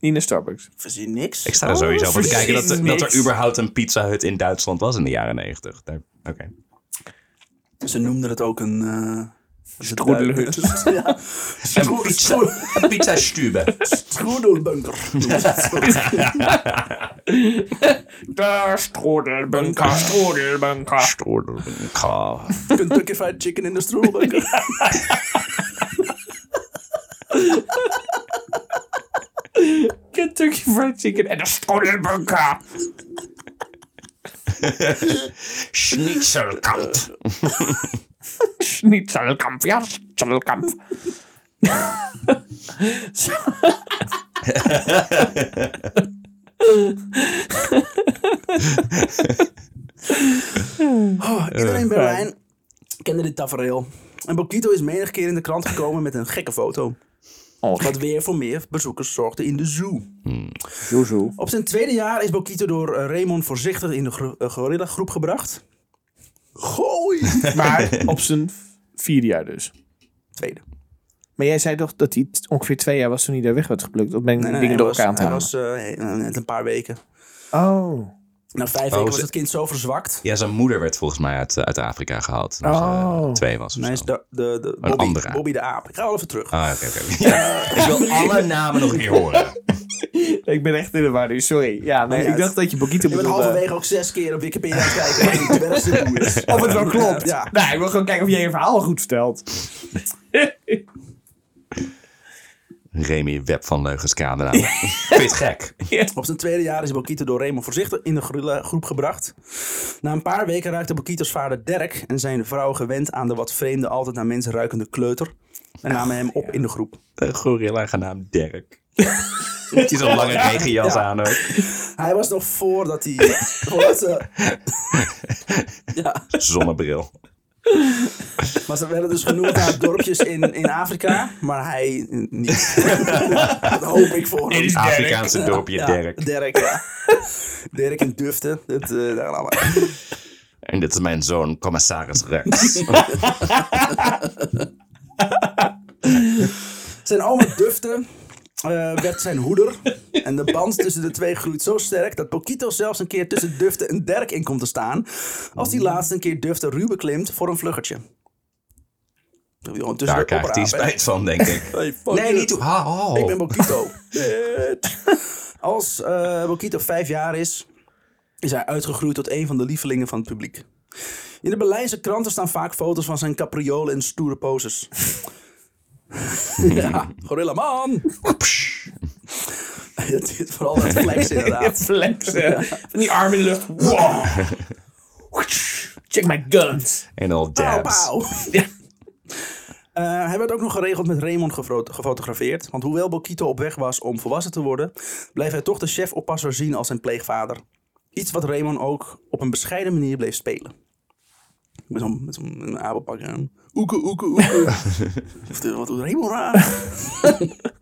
Speaker 2: Niet naar Starbucks.
Speaker 1: Verzin niks.
Speaker 3: Ik sta er
Speaker 2: Oh,
Speaker 3: sowieso voor te
Speaker 2: precies
Speaker 3: kijken dat, er- dat
Speaker 2: niks.
Speaker 3: er überhaupt een Pizza Hut in Duitsland was in de jaren 90. Daar- Oké.
Speaker 1: Ze noemden het ook een... eh
Speaker 2: Stroedelhut.
Speaker 1: ja.
Speaker 3: Een pizza, een pizza stube.
Speaker 1: Stroedelbunker.
Speaker 2: De strodelbunker, strodelbunker.
Speaker 1: Kentucky Fried Chicken in de stroedelbunker.
Speaker 2: Kentucky Fried Chicken en de strodelbunker.
Speaker 3: Schnitzelkamp.
Speaker 2: Schnitzelkamp, ja, schnitzelkamp.
Speaker 1: Oh, iedereen in Berlijn kende dit tafereel. En Bokito is menig keer in de krant gekomen met een gekke foto. Wat weer voor meer bezoekers zorgde in de zoo.
Speaker 2: Joezoe.
Speaker 1: Op zijn tweede jaar is Bokito door eh, Raymond voorzichtig in de gro- eh, gorillagroep gebracht. Gooi!
Speaker 2: Maar op zijn vierde jaar dus.
Speaker 1: Tweede.
Speaker 2: Maar jij zei toch dat hij t- ongeveer twee jaar was toen hij daar weg werd geplukt? Of ben ik dingen
Speaker 1: hij
Speaker 2: door
Speaker 1: was-
Speaker 2: elkaar aan het
Speaker 1: hij
Speaker 2: halen?
Speaker 1: was eh, net een paar weken.
Speaker 2: Oh.
Speaker 1: Na vijf
Speaker 3: Oh,
Speaker 1: weken was
Speaker 3: ze-
Speaker 1: het kind zo verzwakt.
Speaker 3: Ja, zijn moeder werd volgens mij uit, eh, uit Afrika gehaald. Toen ze, eh,
Speaker 2: Oh.
Speaker 3: twee was of
Speaker 1: Hij is
Speaker 3: zo.
Speaker 1: de, de, de Bobby,
Speaker 3: andere aap.
Speaker 1: Bobby de aap. Ik ga wel even terug.
Speaker 3: Ah, oké, oké. Ja, ik wil alle namen nog een keer horen.
Speaker 2: Ik ben echt in de war nu, sorry. Ja, nee,
Speaker 1: niet
Speaker 2: ik
Speaker 1: uit.
Speaker 2: dacht dat je Bokito
Speaker 1: Je bent
Speaker 2: bedoelde.
Speaker 1: halverwege ook zes keer op Wikipedia aan het kijken wat een dwergzielboe is.
Speaker 2: Of het wel klopt.
Speaker 1: Ja.
Speaker 2: Nou, ik wil gewoon kijken of jij je verhaal wel goed vertelt.
Speaker 3: Remy Web van Leugenskade naam. Vind je het gek?
Speaker 1: Op zijn tweede jaar is Bokito door Raymond voorzichtig in de gorillagroep gebracht. Na een paar weken raakte Bokito's vader Dirk en zijn vrouw gewend aan de wat vreemde, altijd naar mensen ruikende kleuter. En namen hem op in de groep.
Speaker 3: Een gorilla genaamd Dirk. Met die zo'n lange regenjas aan ook.
Speaker 1: Hij was nog voordat hij. voordat ze- ja,
Speaker 3: Zonnebril.
Speaker 1: maar ze werden dus genoemd naar dorpjes in, in Afrika, maar hij niet. Dat hoop ik voor hem.
Speaker 3: Afrikaanse dorpje
Speaker 1: Ja,
Speaker 3: Dirk.
Speaker 1: Dirk, ja. Dirk en Dufte. Dat, eh, daar allemaal.
Speaker 3: En dit is mijn zoon, commissaris Rex.
Speaker 1: Zijn oma Dufte eh, werd zijn hoeder. En de band tussen de twee groeit zo sterk dat Pokito zelfs een keer tussen Dufte en Dirk in komt te staan. Als die laatste een keer Dufte ruw beklimt voor een vluggertje. Dat wil je gewoon tussen
Speaker 3: Daar
Speaker 1: de
Speaker 3: krijgt hij
Speaker 1: oprapen, hè?
Speaker 3: spijt van, denk ik.
Speaker 1: Hey, fuck
Speaker 3: Nee,
Speaker 1: you.
Speaker 3: niet toe. Ha, ho.
Speaker 1: Ik ben Bokito. Als eh Bokito vijf jaar is, is hij uitgegroeid tot een van de lievelingen van het publiek. In de Berlijnse kranten staan vaak foto's van zijn capriolen en stoere poses. ja, gorilla man! Het is vooral dat flex inderdaad.
Speaker 2: Flexen. Van die arm in de lucht. Wow. Check my guns.
Speaker 3: En al
Speaker 1: Pauw,
Speaker 3: dabs.
Speaker 1: pauw.
Speaker 2: Ja.
Speaker 1: Eh, hij werd ook nog geregeld met Raymond gefro- gefotografeerd. Want hoewel Bokito op weg was om volwassen te worden, bleef hij toch de chef-oppasser zien als zijn pleegvader. Iets wat Raymond ook op een bescheiden manier bleef spelen. Met zo'n met zo'n abelpak aan. Oeke, oeke, oeke. Of de- Wat doet Raymond raar?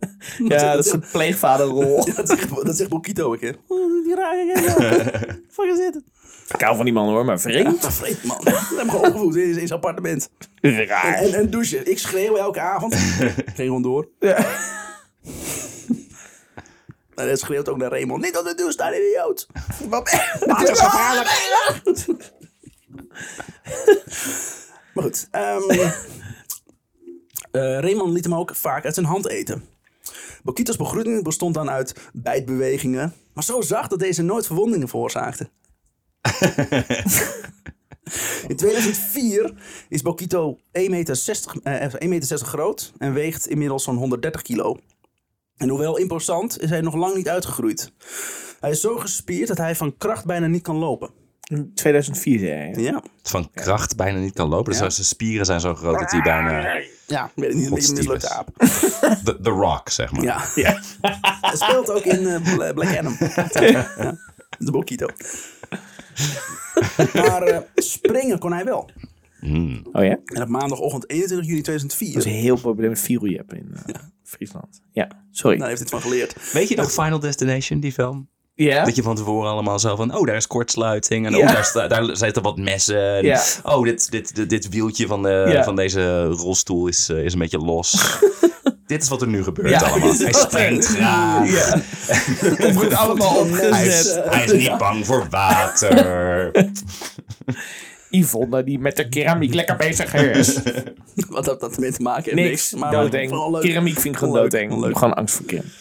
Speaker 2: Ja, dat is een pleegvaderrol.
Speaker 1: dat, zegt, dat zegt Bokito ook, hè. Oh, Die rare gek. Fuck is dit?
Speaker 2: Ik hou van die man hoor, maar vreemd.
Speaker 1: Dat vreemd, man. We hebben hem gewoon opgevoed in, in zijn appartement. En,
Speaker 2: Raar.
Speaker 1: en, en douchen. Ik schreeuw elke avond. Ging gewoon door. En hij schreeuwt ook naar Raymond. Niet op de douche staan, idioot. Wat ben je? Maar goed. ehm, eh, Raymond liet hem ook vaak uit zijn hand eten. Bokito's begroeting bestond dan uit bijtbewegingen. Maar zo zacht dat deze nooit verwondingen veroorzaakte. In 2004 is Bokito 1,60 meter, eh, 1,60 meter groot en weegt inmiddels zo'n 130 kilo. En hoewel imposant, is hij nog lang niet uitgegroeid. Hij is zo gespierd dat hij van kracht bijna niet kan lopen.
Speaker 2: 2004 zei hij.
Speaker 1: Ja.
Speaker 3: Van kracht bijna niet kan lopen. Dus
Speaker 1: Ja.
Speaker 3: zijn spieren zijn zo groot dat hij bijna...
Speaker 1: Ja, weet ik niet, een beetje een
Speaker 3: Godstiefes.
Speaker 1: mislukte aap.
Speaker 3: The, the Rock, zeg maar.
Speaker 1: Ja. Hij speelt ook in eh, Bla- Black Adam. ja. De Bokito. maar eh, springen kon hij wel.
Speaker 2: Oh ja?
Speaker 1: En op maandagochtend 21 juni
Speaker 2: Dat is
Speaker 1: 2004.
Speaker 2: heel populair met Virujep in eh, Friesland. Ja, sorry.
Speaker 1: Nou, hij heeft dit van geleerd.
Speaker 3: Weet je nog Final Destination, die film?
Speaker 2: ja?
Speaker 3: Dat je van tevoren allemaal zo van, oh, daar is kortsluiting. En
Speaker 2: Ja.
Speaker 3: oh, daar, sta- daar zitten wat messen. En,
Speaker 2: Ja.
Speaker 3: Oh, dit, dit, dit, dit wieltje van, de,
Speaker 2: Ja.
Speaker 3: van deze rolstoel is, eh, is een beetje los. dit is wat er nu gebeurt
Speaker 2: Ja.
Speaker 3: allemaal. Hij springt graag.
Speaker 2: Het wordt allemaal
Speaker 3: Hij is,
Speaker 2: opgezet.
Speaker 3: hij is niet bang voor water.
Speaker 2: Yvonne die met de keramiek lekker bezig is.
Speaker 1: Wat dat, dat ermee te maken heeft.
Speaker 2: Niks,
Speaker 1: Maar
Speaker 2: doodeng.
Speaker 1: vooral leuk.
Speaker 2: Keramiek vind ik gewoon
Speaker 1: Leuk,
Speaker 2: doodeng. Ik
Speaker 1: leuk.
Speaker 2: heb gewoon angst voor keramiek.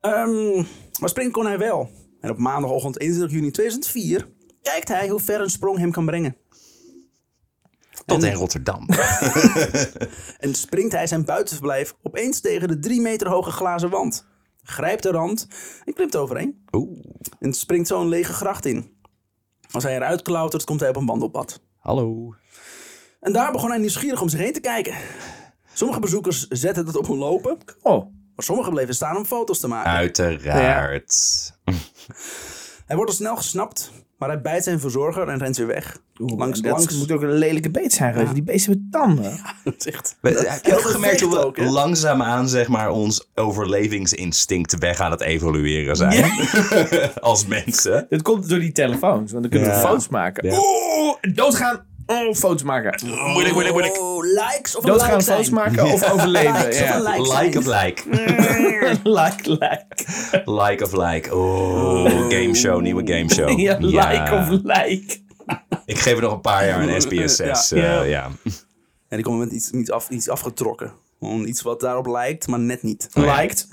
Speaker 1: Ehm, maar springen kon hij wel. En op maandagochtend 21 juni 2004 kijkt hij hoe ver een sprong hem kan brengen.
Speaker 3: Tot in Rotterdam.
Speaker 1: En springt hij zijn buitenverblijf opeens tegen de 3 meter hoge glazen wand. Grijpt de rand en klimt overheen.
Speaker 3: Oeh,
Speaker 1: En springt zo een lege gracht in. Als hij eruit klautert, komt hij op een wandelpad.
Speaker 3: hallo.
Speaker 1: En daar begon hij nieuwsgierig om zich heen te kijken. Sommige bezoekers zetten het op hun lopen,
Speaker 2: Oh,
Speaker 1: maar sommigen bleven staan om foto's te maken.
Speaker 3: Uiteraard.
Speaker 1: Hij wordt al snel gesnapt, maar hij bijt zijn verzorger en rent weer weg. langs,
Speaker 2: dat
Speaker 1: langs.
Speaker 2: moet ook een lelijke beet zijn geweest. Die beesten met tanden.
Speaker 1: Dat is echt-
Speaker 3: We- eh, Heb je
Speaker 1: heel
Speaker 3: ook gemerkt hoe we
Speaker 1: gevecht ook, hè?
Speaker 3: langzaamaan zeg maar, ons overlevingsinstinct weg aan het evolueren zijn? Als mensen.
Speaker 2: Dat komt door die telefoons, want dan kunnen we
Speaker 3: Ja.
Speaker 2: foto's maken.
Speaker 3: Ja.
Speaker 2: Oeh, doodgaan. Oh, foto's maken.
Speaker 3: Moeilijk, moeilijk, moeilijk.
Speaker 1: Oh, likes of een
Speaker 2: Doodgaan,
Speaker 1: like
Speaker 2: foto's
Speaker 1: zijn.
Speaker 2: maken of overleven.
Speaker 1: Likes of een
Speaker 2: Ja.
Speaker 1: like zijn.
Speaker 3: Like of like.
Speaker 2: Like, like.
Speaker 3: Like of like. Oh, game show, nieuwe game show.
Speaker 2: Ja, like of like.
Speaker 3: Ik geef er nog een paar jaar een SPSS. eh, Ja.
Speaker 2: Ja.
Speaker 1: En die komen met iets, iets, af, iets afgetrokken. Gewoon iets wat daarop lijkt, maar net niet.
Speaker 2: Liked.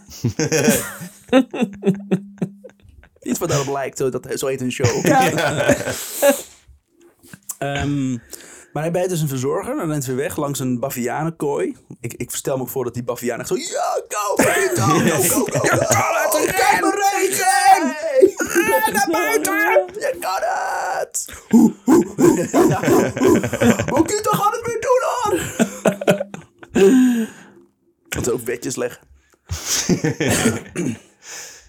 Speaker 1: Iets wat daarop lijkt, zo, dat, zo heet een show. Ehm, maar hij bijt dus een verzorger en rent weer weg langs een bavianenkooi. Ik, ik stel me ook voor dat die baviaan echt zo... Ja, go, vriend, go, go, go, go, Je kan het, ren! regen! Ren naar buiten! Je kan het! Hoe, hoe, hoe, hoe, hoe, hoe. Mokito gaat het weer doen, hoor! Dat ook wetjes leggen.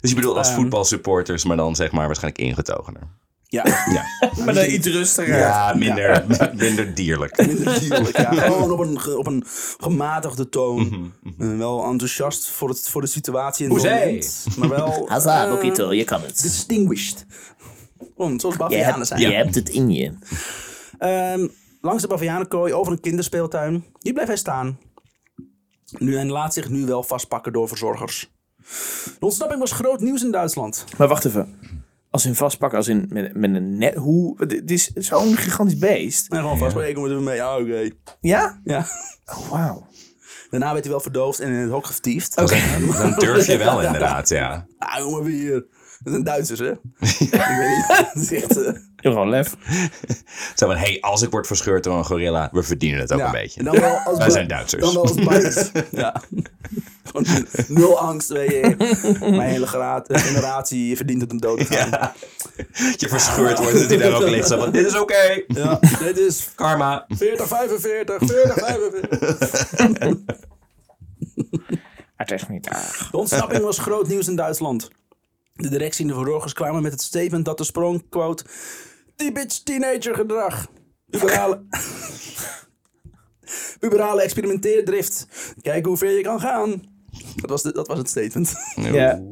Speaker 3: Dus je bedoelt als voetbalsupporters, maar dan zeg maar waarschijnlijk ingetogener.
Speaker 1: Ja.
Speaker 3: Ja,
Speaker 2: Maar dan iets rustiger.
Speaker 3: ja minder, minder dierlijk.
Speaker 1: Natuurlijk, ja. Gewoon op een, ge- op een gematigde toon. Eh, wel enthousiast voor, het, voor de situatie in het
Speaker 3: Hoezee.
Speaker 1: moment. Maar wel...
Speaker 2: Haza,
Speaker 1: eh,
Speaker 2: Mokito, je kan het.
Speaker 1: distinguished. Gewoon, zoals
Speaker 2: Je
Speaker 1: bavianen
Speaker 2: hebt,
Speaker 1: zijn.
Speaker 2: je hebt het in je.
Speaker 1: Ehm, langs de bavianenkooi, over een kinderspeeltuin. Hier blijft hij staan. Nu, en laat zich nu wel vastpakken door verzorgers. De ontsnapping was groot nieuws in Duitsland.
Speaker 2: Maar wacht even. Als in vastpakken, als in met, met een net. Hoe? Dit is zo'n gigantisch beest.
Speaker 1: En gewoon vastpakken, moeten we mee. Ja, oké.
Speaker 2: Ja?
Speaker 1: Ja.
Speaker 2: Oh, wauw.
Speaker 1: Daarna werd hij wel verdoofd en in het hok getiefd.
Speaker 3: Dan durf je wel inderdaad, ja.
Speaker 1: Ah, jongen, weer. Dat zijn Duitsers, hè? Ik weet niet. Dat is echt... eh,
Speaker 2: Gewoon lef.
Speaker 3: Zo van, hey, als ik word verscheurd door een gorilla, we verdienen het ook
Speaker 1: ja.
Speaker 3: een beetje.
Speaker 1: En dan wel als
Speaker 3: Wij
Speaker 1: ba-
Speaker 3: zijn Duitsers.
Speaker 1: Dan wel als bias. ja. Gewoon nul angst, weet je. Mijn hele gra- generatie verdient het om dood te gaan.
Speaker 3: Dat je verscheurd wordt, dat hij daar ook ligt. Zo van, dit is oké. eh,
Speaker 1: Ja, dit is
Speaker 3: Karma.
Speaker 1: 40, 45, 40, 45.
Speaker 2: Het is niet erg.
Speaker 1: De ontsnapping was groot nieuws in Duitsland. De directie en de verzorgers kwamen met het statement dat de sprong, quote, typisch teenager gedrag. Puberale, puberale experimenteerdrift. Kijk hoe ver je kan gaan. Dat was, de, dat was het statement.
Speaker 2: Ja.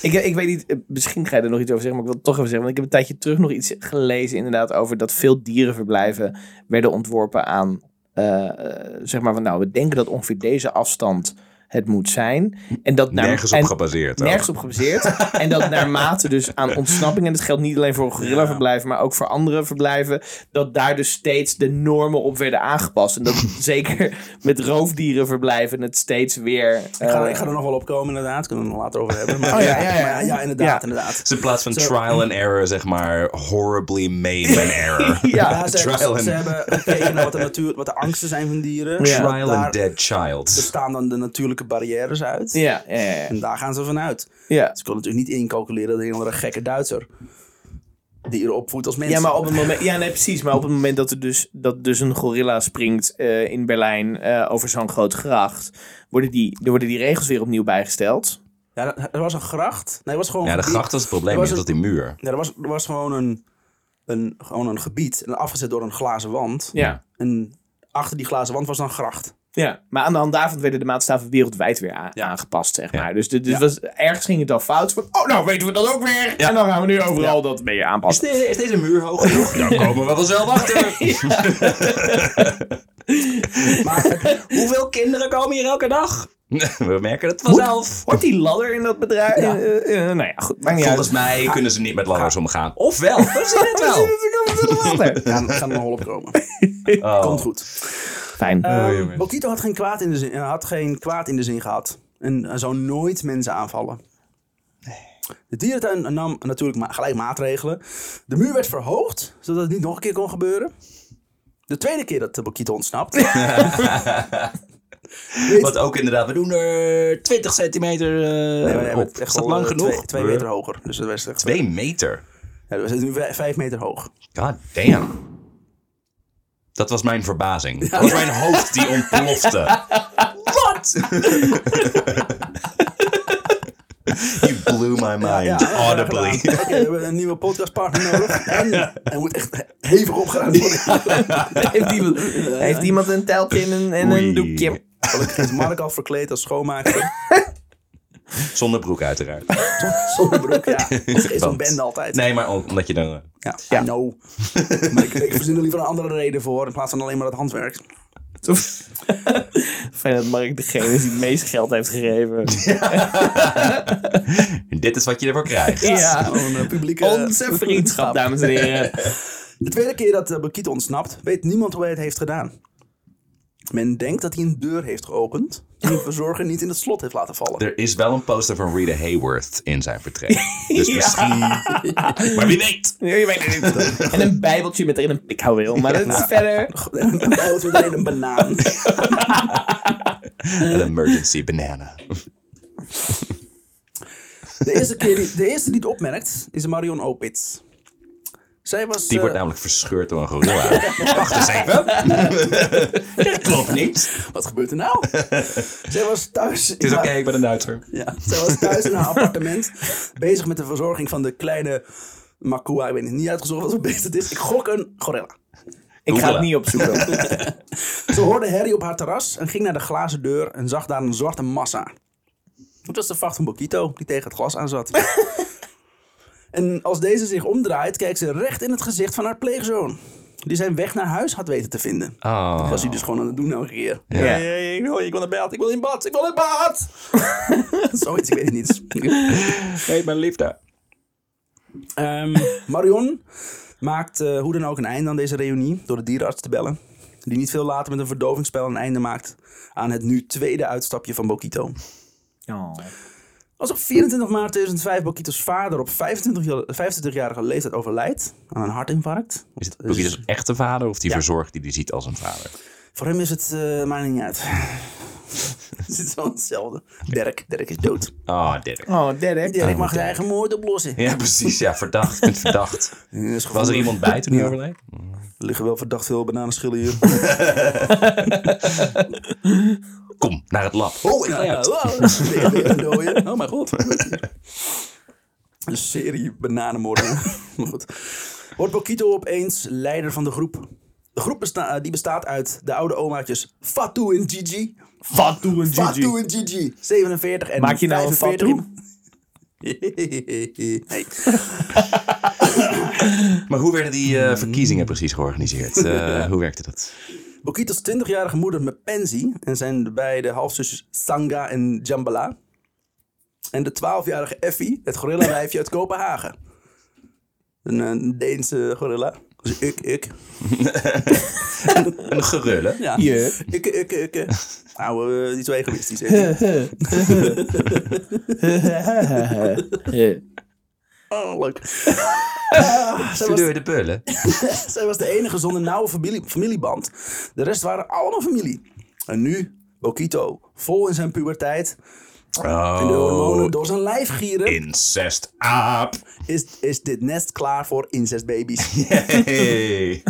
Speaker 2: Ik, ik weet niet, eh, misschien ga je er nog iets over zeggen, maar ik wil het toch even zeggen. Want ik heb een tijdje terug nog iets gelezen inderdaad over dat veel dierenverblijven werden ontworpen aan, eh, eh, zeg maar van nou, we denken dat ongeveer deze afstand het moet zijn. En dat naar-
Speaker 3: Nergens op
Speaker 2: Nou, en-
Speaker 3: gebaseerd. ook.
Speaker 2: Nergens op gebaseerd. en dat naarmate dus aan ontsnapping, en dat geldt niet alleen voor gorillaverblijven, maar ook voor andere verblijven, dat daar dus steeds de normen op werden aangepast. En dat zeker met roofdierenverblijven het steeds weer...
Speaker 1: Ik ga,
Speaker 2: eh,
Speaker 1: ik ga er nog wel op komen, inderdaad. Kunnen we het nog later over hebben. Maar,
Speaker 2: Oh, ja, ja, ja.
Speaker 1: maar ja, inderdaad,
Speaker 2: Ja.
Speaker 1: inderdaad.
Speaker 3: Dus in plaats van trial and error, zeg maar, horribly made an error.
Speaker 1: Ja,
Speaker 2: ja,
Speaker 1: Eh, ze, hebben-
Speaker 3: Trial and-
Speaker 1: ze hebben gekeken naar wat de, natuur, wat de angsten zijn van dieren.
Speaker 2: Ja.
Speaker 1: Wat
Speaker 3: Trial
Speaker 1: daar-
Speaker 3: and dead child.
Speaker 1: bestaan dan de natuurlijke natuurlijke barrières uit.
Speaker 2: Ja, ja, ja, ja.
Speaker 1: En daar gaan ze vanuit.
Speaker 2: ja.
Speaker 1: Ze kunnen natuurlijk niet incalculeren dat een of andere gekke Duitser die erop voedt als mens.
Speaker 2: Ja, maar op het moment, ja, nee, precies. Maar op het moment dat er dus, dat dus een gorilla springt eh, in Berlijn eh, over zo'n grote gracht, worden die, er worden die regels weer opnieuw bijgesteld.
Speaker 1: Ja, dat- er was een gracht. Nee, er was gewoon
Speaker 3: Ja, de
Speaker 1: een gebied.
Speaker 3: gracht was het probleem,
Speaker 1: Er was
Speaker 3: niet dat die muur.
Speaker 1: Ja, er was, er was gewoon, een, een, gewoon een gebied, en afgezet door een glazen wand.
Speaker 2: Ja.
Speaker 1: En achter die glazen wand was dan een gracht.
Speaker 2: ja. Maar aan de hand daarvan werden de maatstaven wereldwijd weer a- aangepast, zeg maar. Dus, de- dus
Speaker 1: Ja.
Speaker 2: was, ergens ging het al fout. Van, oh, nou weten we dat ook weer. En dan gaan we nu overal dat mee aanpassen.
Speaker 3: deze, is deze muur hoog genoeg? Daar komen we vanzelf achter.
Speaker 1: Maar
Speaker 3: Hoeveel kinderen komen hier elke dag? We merken het vanzelf.
Speaker 2: Hoort die ladder in dat bedrijf?
Speaker 1: Ja.
Speaker 2: Eh, eh, eh, nou ja, goed. Maakt niet uit. Nou.
Speaker 3: Volgens mij kunnen ze niet met ladders omgaan. Ofwel, we zien het wel.
Speaker 1: we gaan, gaan er een hol op komen.
Speaker 3: Oh,
Speaker 1: Komt goed.
Speaker 2: Fijn.
Speaker 1: Ehm Bokito had geen, kwaad in de zin, had geen kwaad in de zin gehad. En hij zou nooit mensen aanvallen. De dierentuin nam natuurlijk ma- gelijk maatregelen. De muur werd verhoogd, zodat het niet nog een keer kon gebeuren. De tweede keer dat eh, Bokito ontsnapt.
Speaker 3: Wat ook inderdaad, we doen er 20 centimeter
Speaker 1: Nee,
Speaker 3: eh,
Speaker 1: maar hij
Speaker 3: op.
Speaker 1: werd echt
Speaker 3: Is dat
Speaker 1: al,
Speaker 3: lang
Speaker 1: eh,
Speaker 3: genoeg?
Speaker 1: Twee, twee meter hoger. Dus dat was echt.
Speaker 3: Twee meter?
Speaker 1: Ja, dat was nu vij- vijf meter hoog.
Speaker 3: God damn. Dat was mijn verbazing. Dat was mijn hoofd die ontplofte. Wat? you blew my mind.
Speaker 1: dat hebben we
Speaker 3: audibly.
Speaker 1: gedaan. Ah, Oké, we hebben een nieuwe podcastpartner nodig. En hij moet echt hevig opgeruimd worden.
Speaker 2: heeft, iemand, heeft iemand een teltje en een, en
Speaker 3: Oei.
Speaker 2: een doekje?
Speaker 1: Gelukkig is Mark al verkleed als schoonmaker.
Speaker 3: Zonder broek uiteraard.
Speaker 1: Zonder broek, ja. Dat is zo'n
Speaker 3: Want-
Speaker 1: bende altijd.
Speaker 3: Nee, maar om- omdat je dan... eh,
Speaker 1: Ja, I know. Maar ik, ik verzin er liever een andere reden voor in plaats van alleen maar het handwerk.
Speaker 2: Fijn dat Mark degene is die het meeste geld heeft gegeven.
Speaker 3: Dit is wat je ervoor krijgt.
Speaker 2: Ja.
Speaker 1: Gewoon eh, publieke...
Speaker 2: Onze vriendschap, dames en heren.
Speaker 1: De tweede keer dat eh, Bakito ontsnapt, weet niemand hoe hij het heeft gedaan. Men denkt dat hij een deur heeft geopend die de verzorger niet in het slot heeft laten vallen.
Speaker 3: Er is wel een poster van Rita Hayworth in zijn vertrek. Dus misschien... Maar wie weet.
Speaker 2: Nee, je weet het niet. Nou, En een bijbeltje met erin een pikhouweel. Maar dat is verder.
Speaker 1: Een bijltje met alleen een banaan.
Speaker 3: An emergency banana.
Speaker 1: De eerste, keer die, de eerste die het opmerkt is Marion Opitz. Zij was.
Speaker 3: Die
Speaker 1: eh,
Speaker 3: wordt namelijk verscheurd door een gorilla. Wacht eens even. Dat klopt niet.
Speaker 1: Wat gebeurt er nou? zij was thuis.
Speaker 3: Het is oké, ik ben een Duitser.
Speaker 1: ja, zij was thuis in haar appartement. bezig met de verzorging van de kleine Makua. Ik weet het niet uitgezocht wat voor beest het is. Ik gok een gorilla.
Speaker 2: Ik ga het
Speaker 3: Googelen.
Speaker 2: niet opzoeken.
Speaker 1: Ze hoorde herrie op haar terras en ging naar de glazen deur en zag daar een zwarte massa. Het was de vacht van Bokito, die tegen het glas aan zat. en als deze zich omdraait, kijkt ze recht in het gezicht van haar pleegzoon. Die zijn weg naar huis had weten te vinden.
Speaker 3: Oh.
Speaker 1: Was hij dus gewoon aan het doen elke keer.
Speaker 3: Ja.
Speaker 1: Hey, hey, ik wil- ik wil in bad, ik wil in bad, ik wil in bad. Zoiets, ik weet het niet.
Speaker 3: Hey, mijn liefde.
Speaker 1: Ehm, Marion maakt eh, hoe dan ook een einde aan deze reunie door de dierenarts te bellen. Die niet veel later met een verdovingsspel een einde maakt aan het nu tweede uitstapje van Bokito.
Speaker 2: Oh.
Speaker 1: Als op 24 maart 2005 Bokito's vader op 25 jaar- 25-jarige leeftijd overlijdt aan een hartinfarct.
Speaker 3: Is het Boekie dus echte vader of die verzorgd die die ziet als een vader?
Speaker 1: Voor hem is het eh maar niet uit. het is wel hetzelfde. Dirk, Dirk is dood.
Speaker 3: Oh, Dirk.
Speaker 2: Oh, Derek.
Speaker 1: Dirk mag zijn eigen moord oplossen.
Speaker 3: Ja, precies. Ja, verdacht. Ik ben verdacht. Was er iemand bij toen hij overleed?
Speaker 1: Er liggen wel verdacht veel bananenschillen hier.
Speaker 3: Kom, naar het lab. Oh, ik
Speaker 1: Ja, ja. Wow. Weer- weer een dode. Oh mijn god. Een serie bananenmoorden. maar goed. Wordt Bokito opeens leider van de groep. De groep besta- eh, die bestaat uit de oude omaatjes Fatou en Gigi.
Speaker 2: Fatou en
Speaker 1: Fatou en Gigi. 47 en
Speaker 2: Maak je nou een
Speaker 1: 45
Speaker 2: Fatou?
Speaker 1: in- nee.
Speaker 3: Maar hoe werden die eh, verkiezingen precies georganiseerd? Eh, hoe werkte dat?
Speaker 1: Bokito's 20-jarige moeder Mepensi en zijn de beide halfzusjes Sanga en Jambala. En de 12-jarige Effie, het gorillawijfje uit Kopenhagen. Een, eh, Deense gorilla. Dus ik, ik.
Speaker 3: Een gerullen.
Speaker 1: Ja.
Speaker 2: Je.
Speaker 1: Ik, ik, ik. ik. Nou, eh, niet zo egoïstisch. hè. Oh, leuk. Ah, zij, was,
Speaker 3: Verdeur de pullen.
Speaker 1: zij was de enige zonder nauwe familie, familieband. De rest waren allemaal familie. En nu Bokito, vol in zijn puberteit. En de hormonen
Speaker 3: Oh,
Speaker 1: door zijn lijf gieren.
Speaker 3: incest aap.
Speaker 1: Is, is dit nest klaar voor incestbabies?
Speaker 3: Hey.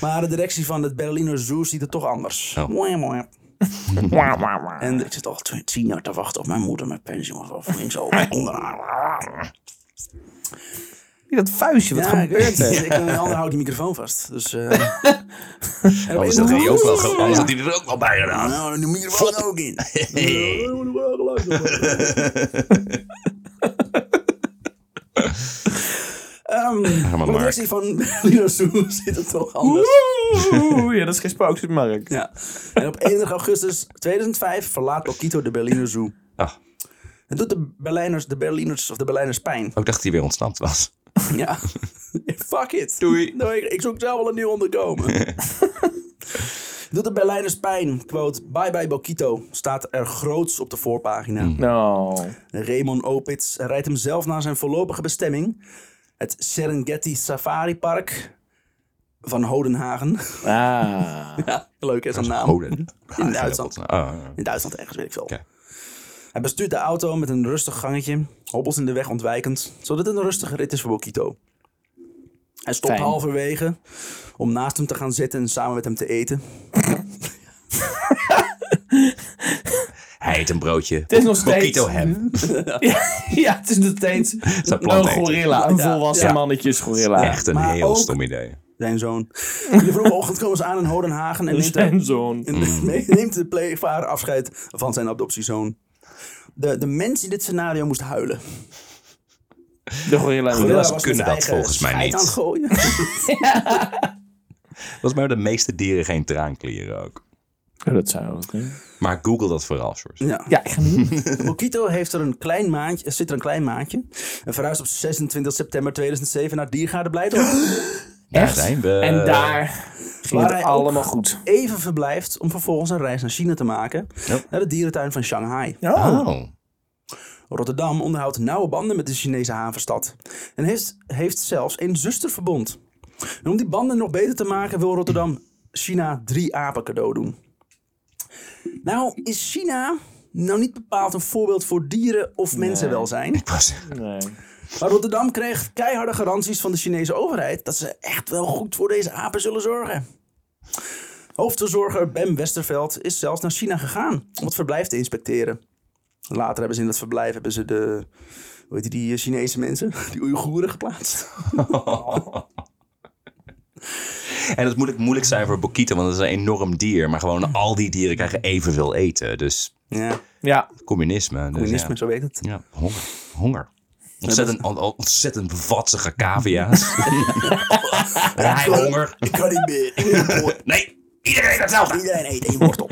Speaker 1: Maar de directie van het Berliner Zoo ziet het toch anders.
Speaker 3: Oh.
Speaker 1: Mooi, mooi.
Speaker 2: Wah, wah, wah.
Speaker 1: En ik zit al tw- tien jaar te wachten op mijn moeder met pensioen of links over onderaan.
Speaker 2: Dat vuistje, wat gebeurt er?
Speaker 1: Ik ben ander houdt die microfoon vast. Dus, eh En
Speaker 3: Anders had hij ook wel ge- anders had hij er ook wel bij gedaan.
Speaker 1: Nou, de microfoon er ook in. Ehm,
Speaker 3: maar,
Speaker 1: de
Speaker 3: Mark.
Speaker 1: directie van Berliner Zoo zit het toch anders.
Speaker 2: Oeh, ja, dat is geen sprookje, Mark.
Speaker 1: Ja. En op 31 augustus 2005 verlaat Okito de Berliner Zoo.
Speaker 3: Ah,
Speaker 1: Het doet de Berlijners, de Berliners of de Berlijners pijn.
Speaker 3: ook dacht hij weer ontsnapt was.
Speaker 1: Ja. Fuck it.
Speaker 3: Doei.
Speaker 1: Nou, ik, ik zoek zelf wel een nieuw onderkomen. Doet de Berlijners pijn. Quote, bye bye Bokito staat er groots op de voorpagina.
Speaker 2: Mm. No.
Speaker 1: Raymond Opitz rijdt hem zelf naar zijn voorlopige bestemming. Het Serengeti Safari Park van Hodenhagen.
Speaker 2: Ah.
Speaker 1: Ja, leuk is een naam.
Speaker 3: Hoden.
Speaker 1: In Duitsland.
Speaker 3: Ah,
Speaker 1: In Duitsland ergens, weet ik veel.
Speaker 3: Oké.
Speaker 1: Hij bestuurt de auto met een rustig gangetje, hobbels in de weg ontwijkend, zodat het een rustige rit is voor Bokito. Hij stopt
Speaker 2: Fijn.
Speaker 1: halverwege om naast hem te gaan zitten en samen met hem te eten.
Speaker 3: Hij eet een broodje.
Speaker 2: Het is nog steeds...
Speaker 3: Bokito hem.
Speaker 2: Ja, ja, het is nog steeds
Speaker 3: een
Speaker 2: een
Speaker 3: planteter.
Speaker 2: gorilla. Een
Speaker 1: Ja,
Speaker 2: volwassen
Speaker 1: ja.
Speaker 2: mannetjes gorilla.
Speaker 3: Echt een
Speaker 1: Maar
Speaker 3: heel
Speaker 1: ook-
Speaker 3: stom idee.
Speaker 1: Zijn zoon. In de vroege ochtend komen ze aan in Hodenhagen en neemt hij-
Speaker 2: Zijn zoon.
Speaker 3: Hmm.
Speaker 1: En neemt de pleegvader afscheid van zijn adoptiezoon. De, de mens in dit scenario moest huilen.
Speaker 2: De gorilla. in de
Speaker 3: Gorilla's
Speaker 1: Gorilla was met
Speaker 3: kunnen
Speaker 1: zijn
Speaker 3: dat
Speaker 1: eigen
Speaker 3: volgens mij
Speaker 1: scheid
Speaker 3: niet.
Speaker 1: Aan het gooien.
Speaker 3: Volgens mij hebben de meeste dieren geen traanklieren ook.
Speaker 2: Oh, dat zou ook. hè.
Speaker 3: Maar google dat vooral, Sjors.
Speaker 1: ja.
Speaker 2: Ja, ik ga nu.
Speaker 1: Mokito heeft er een klein maandje, zit er een klein maandje. En verhuist op 26 september 2007 naar Diergaarde Blijdorp.
Speaker 3: Daar
Speaker 2: Echt?
Speaker 3: zijn we.
Speaker 2: En daar ging
Speaker 1: Waar
Speaker 2: het
Speaker 1: hij
Speaker 2: allemaal goed.
Speaker 1: Even verblijft om vervolgens een reis naar China te maken.
Speaker 3: Ja.
Speaker 1: Naar de dierentuin van Shanghai.
Speaker 3: Oh.
Speaker 1: Rotterdam onderhoudt nauwe banden met de Chinese havenstad. En heeft, heeft zelfs een zusterverbond. En om die banden nog beter te maken wil Rotterdam China drie apen cadeau doen. Nou is China nou niet bepaald een voorbeeld voor dieren of mensenwelzijn.
Speaker 3: Ik wou zeggen,
Speaker 2: Nee.
Speaker 1: Maar Rotterdam kreeg keiharde garanties van de Chinese overheid dat ze echt wel goed voor deze apen zullen zorgen. Hoofdverzorger Bem Westerveld is zelfs naar China gegaan om het verblijf te inspecteren. Later hebben ze in dat verblijf hebben ze de, hoe heet die, die eh, Chinese mensen, die Oeigoeren geplaatst.
Speaker 3: En het moet ook moeilijk zijn voor Bokito, want het is een enorm dier. Maar gewoon al die dieren krijgen evenveel eten. Dus
Speaker 1: Ja,
Speaker 2: Ja,
Speaker 3: communisme. dus
Speaker 1: communisme, zo weet het.
Speaker 3: ja. ja, honger. Honger. Ontzettend, on- on- ontzettend vatsige cavia's. Hij honger.
Speaker 1: Ik kan niet meer. Iedereen eet-
Speaker 3: Nee, iedereen hetzelfde.
Speaker 1: Iedereen eet één wortel.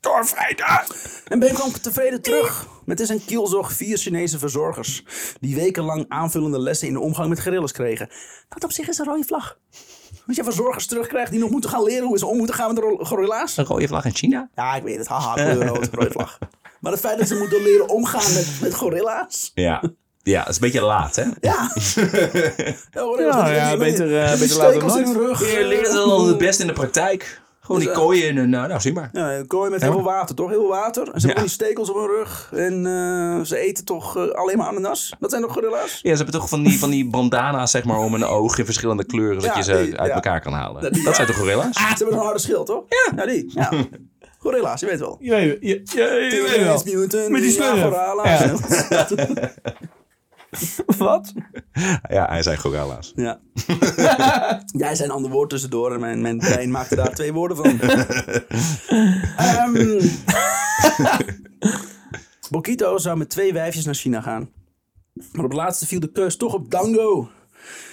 Speaker 3: Torfrijdag.
Speaker 1: En Ben kwam tevreden terug. Met in zijn kielzog vier Chinese verzorgers. Die wekenlang aanvullende lessen in de omgang met gorillas kregen. Dat op zich is een rode vlag. Als je verzorgers terugkrijgt die nog moeten gaan leren hoe ze om moeten gaan met de ro- gorilla's.
Speaker 3: Een rode vlag in China.
Speaker 1: Ja, ik weet het. Haha, kleurrood, rode vlag. Maar het feit dat ze moeten leren omgaan met, met gorilla's.
Speaker 3: Ja. Ja, dat is een beetje laat, hè?
Speaker 1: Ja. ja, gorilla's
Speaker 2: Ja,
Speaker 1: met-
Speaker 2: ja,
Speaker 1: met-
Speaker 2: beter, eh,
Speaker 1: met die
Speaker 2: beter later dan
Speaker 1: stekels in hun rug.
Speaker 3: Hier leren ze al het best in de praktijk. Gewoon die kooien en een, eh, nou zie maar.
Speaker 1: Ja, een kooi met heel veel water, toch? Heel veel water. En ze hebben die stekels op hun rug. En eh, ze eten toch eh, alleen maar ananas. Dat zijn toch gorilla's?
Speaker 3: Ja, ze hebben toch van die, van die bandana's zeg maar om een oog in verschillende kleuren, zodat
Speaker 1: Ja,
Speaker 3: je ze
Speaker 1: die-
Speaker 3: uit
Speaker 1: ja.
Speaker 3: elkaar kan halen.
Speaker 1: Dat-
Speaker 3: Dat Ah. zijn toch gorilla's?
Speaker 1: Ze hebben een harde schild, toch? Ja. Ja, die. Ja. Gorilla's, je weet wel.
Speaker 2: je weet, je, je, je weet
Speaker 1: Teenage
Speaker 2: wel.
Speaker 1: Mutant
Speaker 2: Met die
Speaker 1: Ninja
Speaker 2: slurf.
Speaker 1: Gorilla's.
Speaker 2: Wat?
Speaker 3: Ja, hij zijn gorilla's.
Speaker 1: Ja. Jij zei een ander woord tussendoor en mijn, mijn brein maakte daar twee woorden van. Ehm Bokito zou met twee wijfjes naar China gaan. Maar op het laatste viel de keus toch op Dango.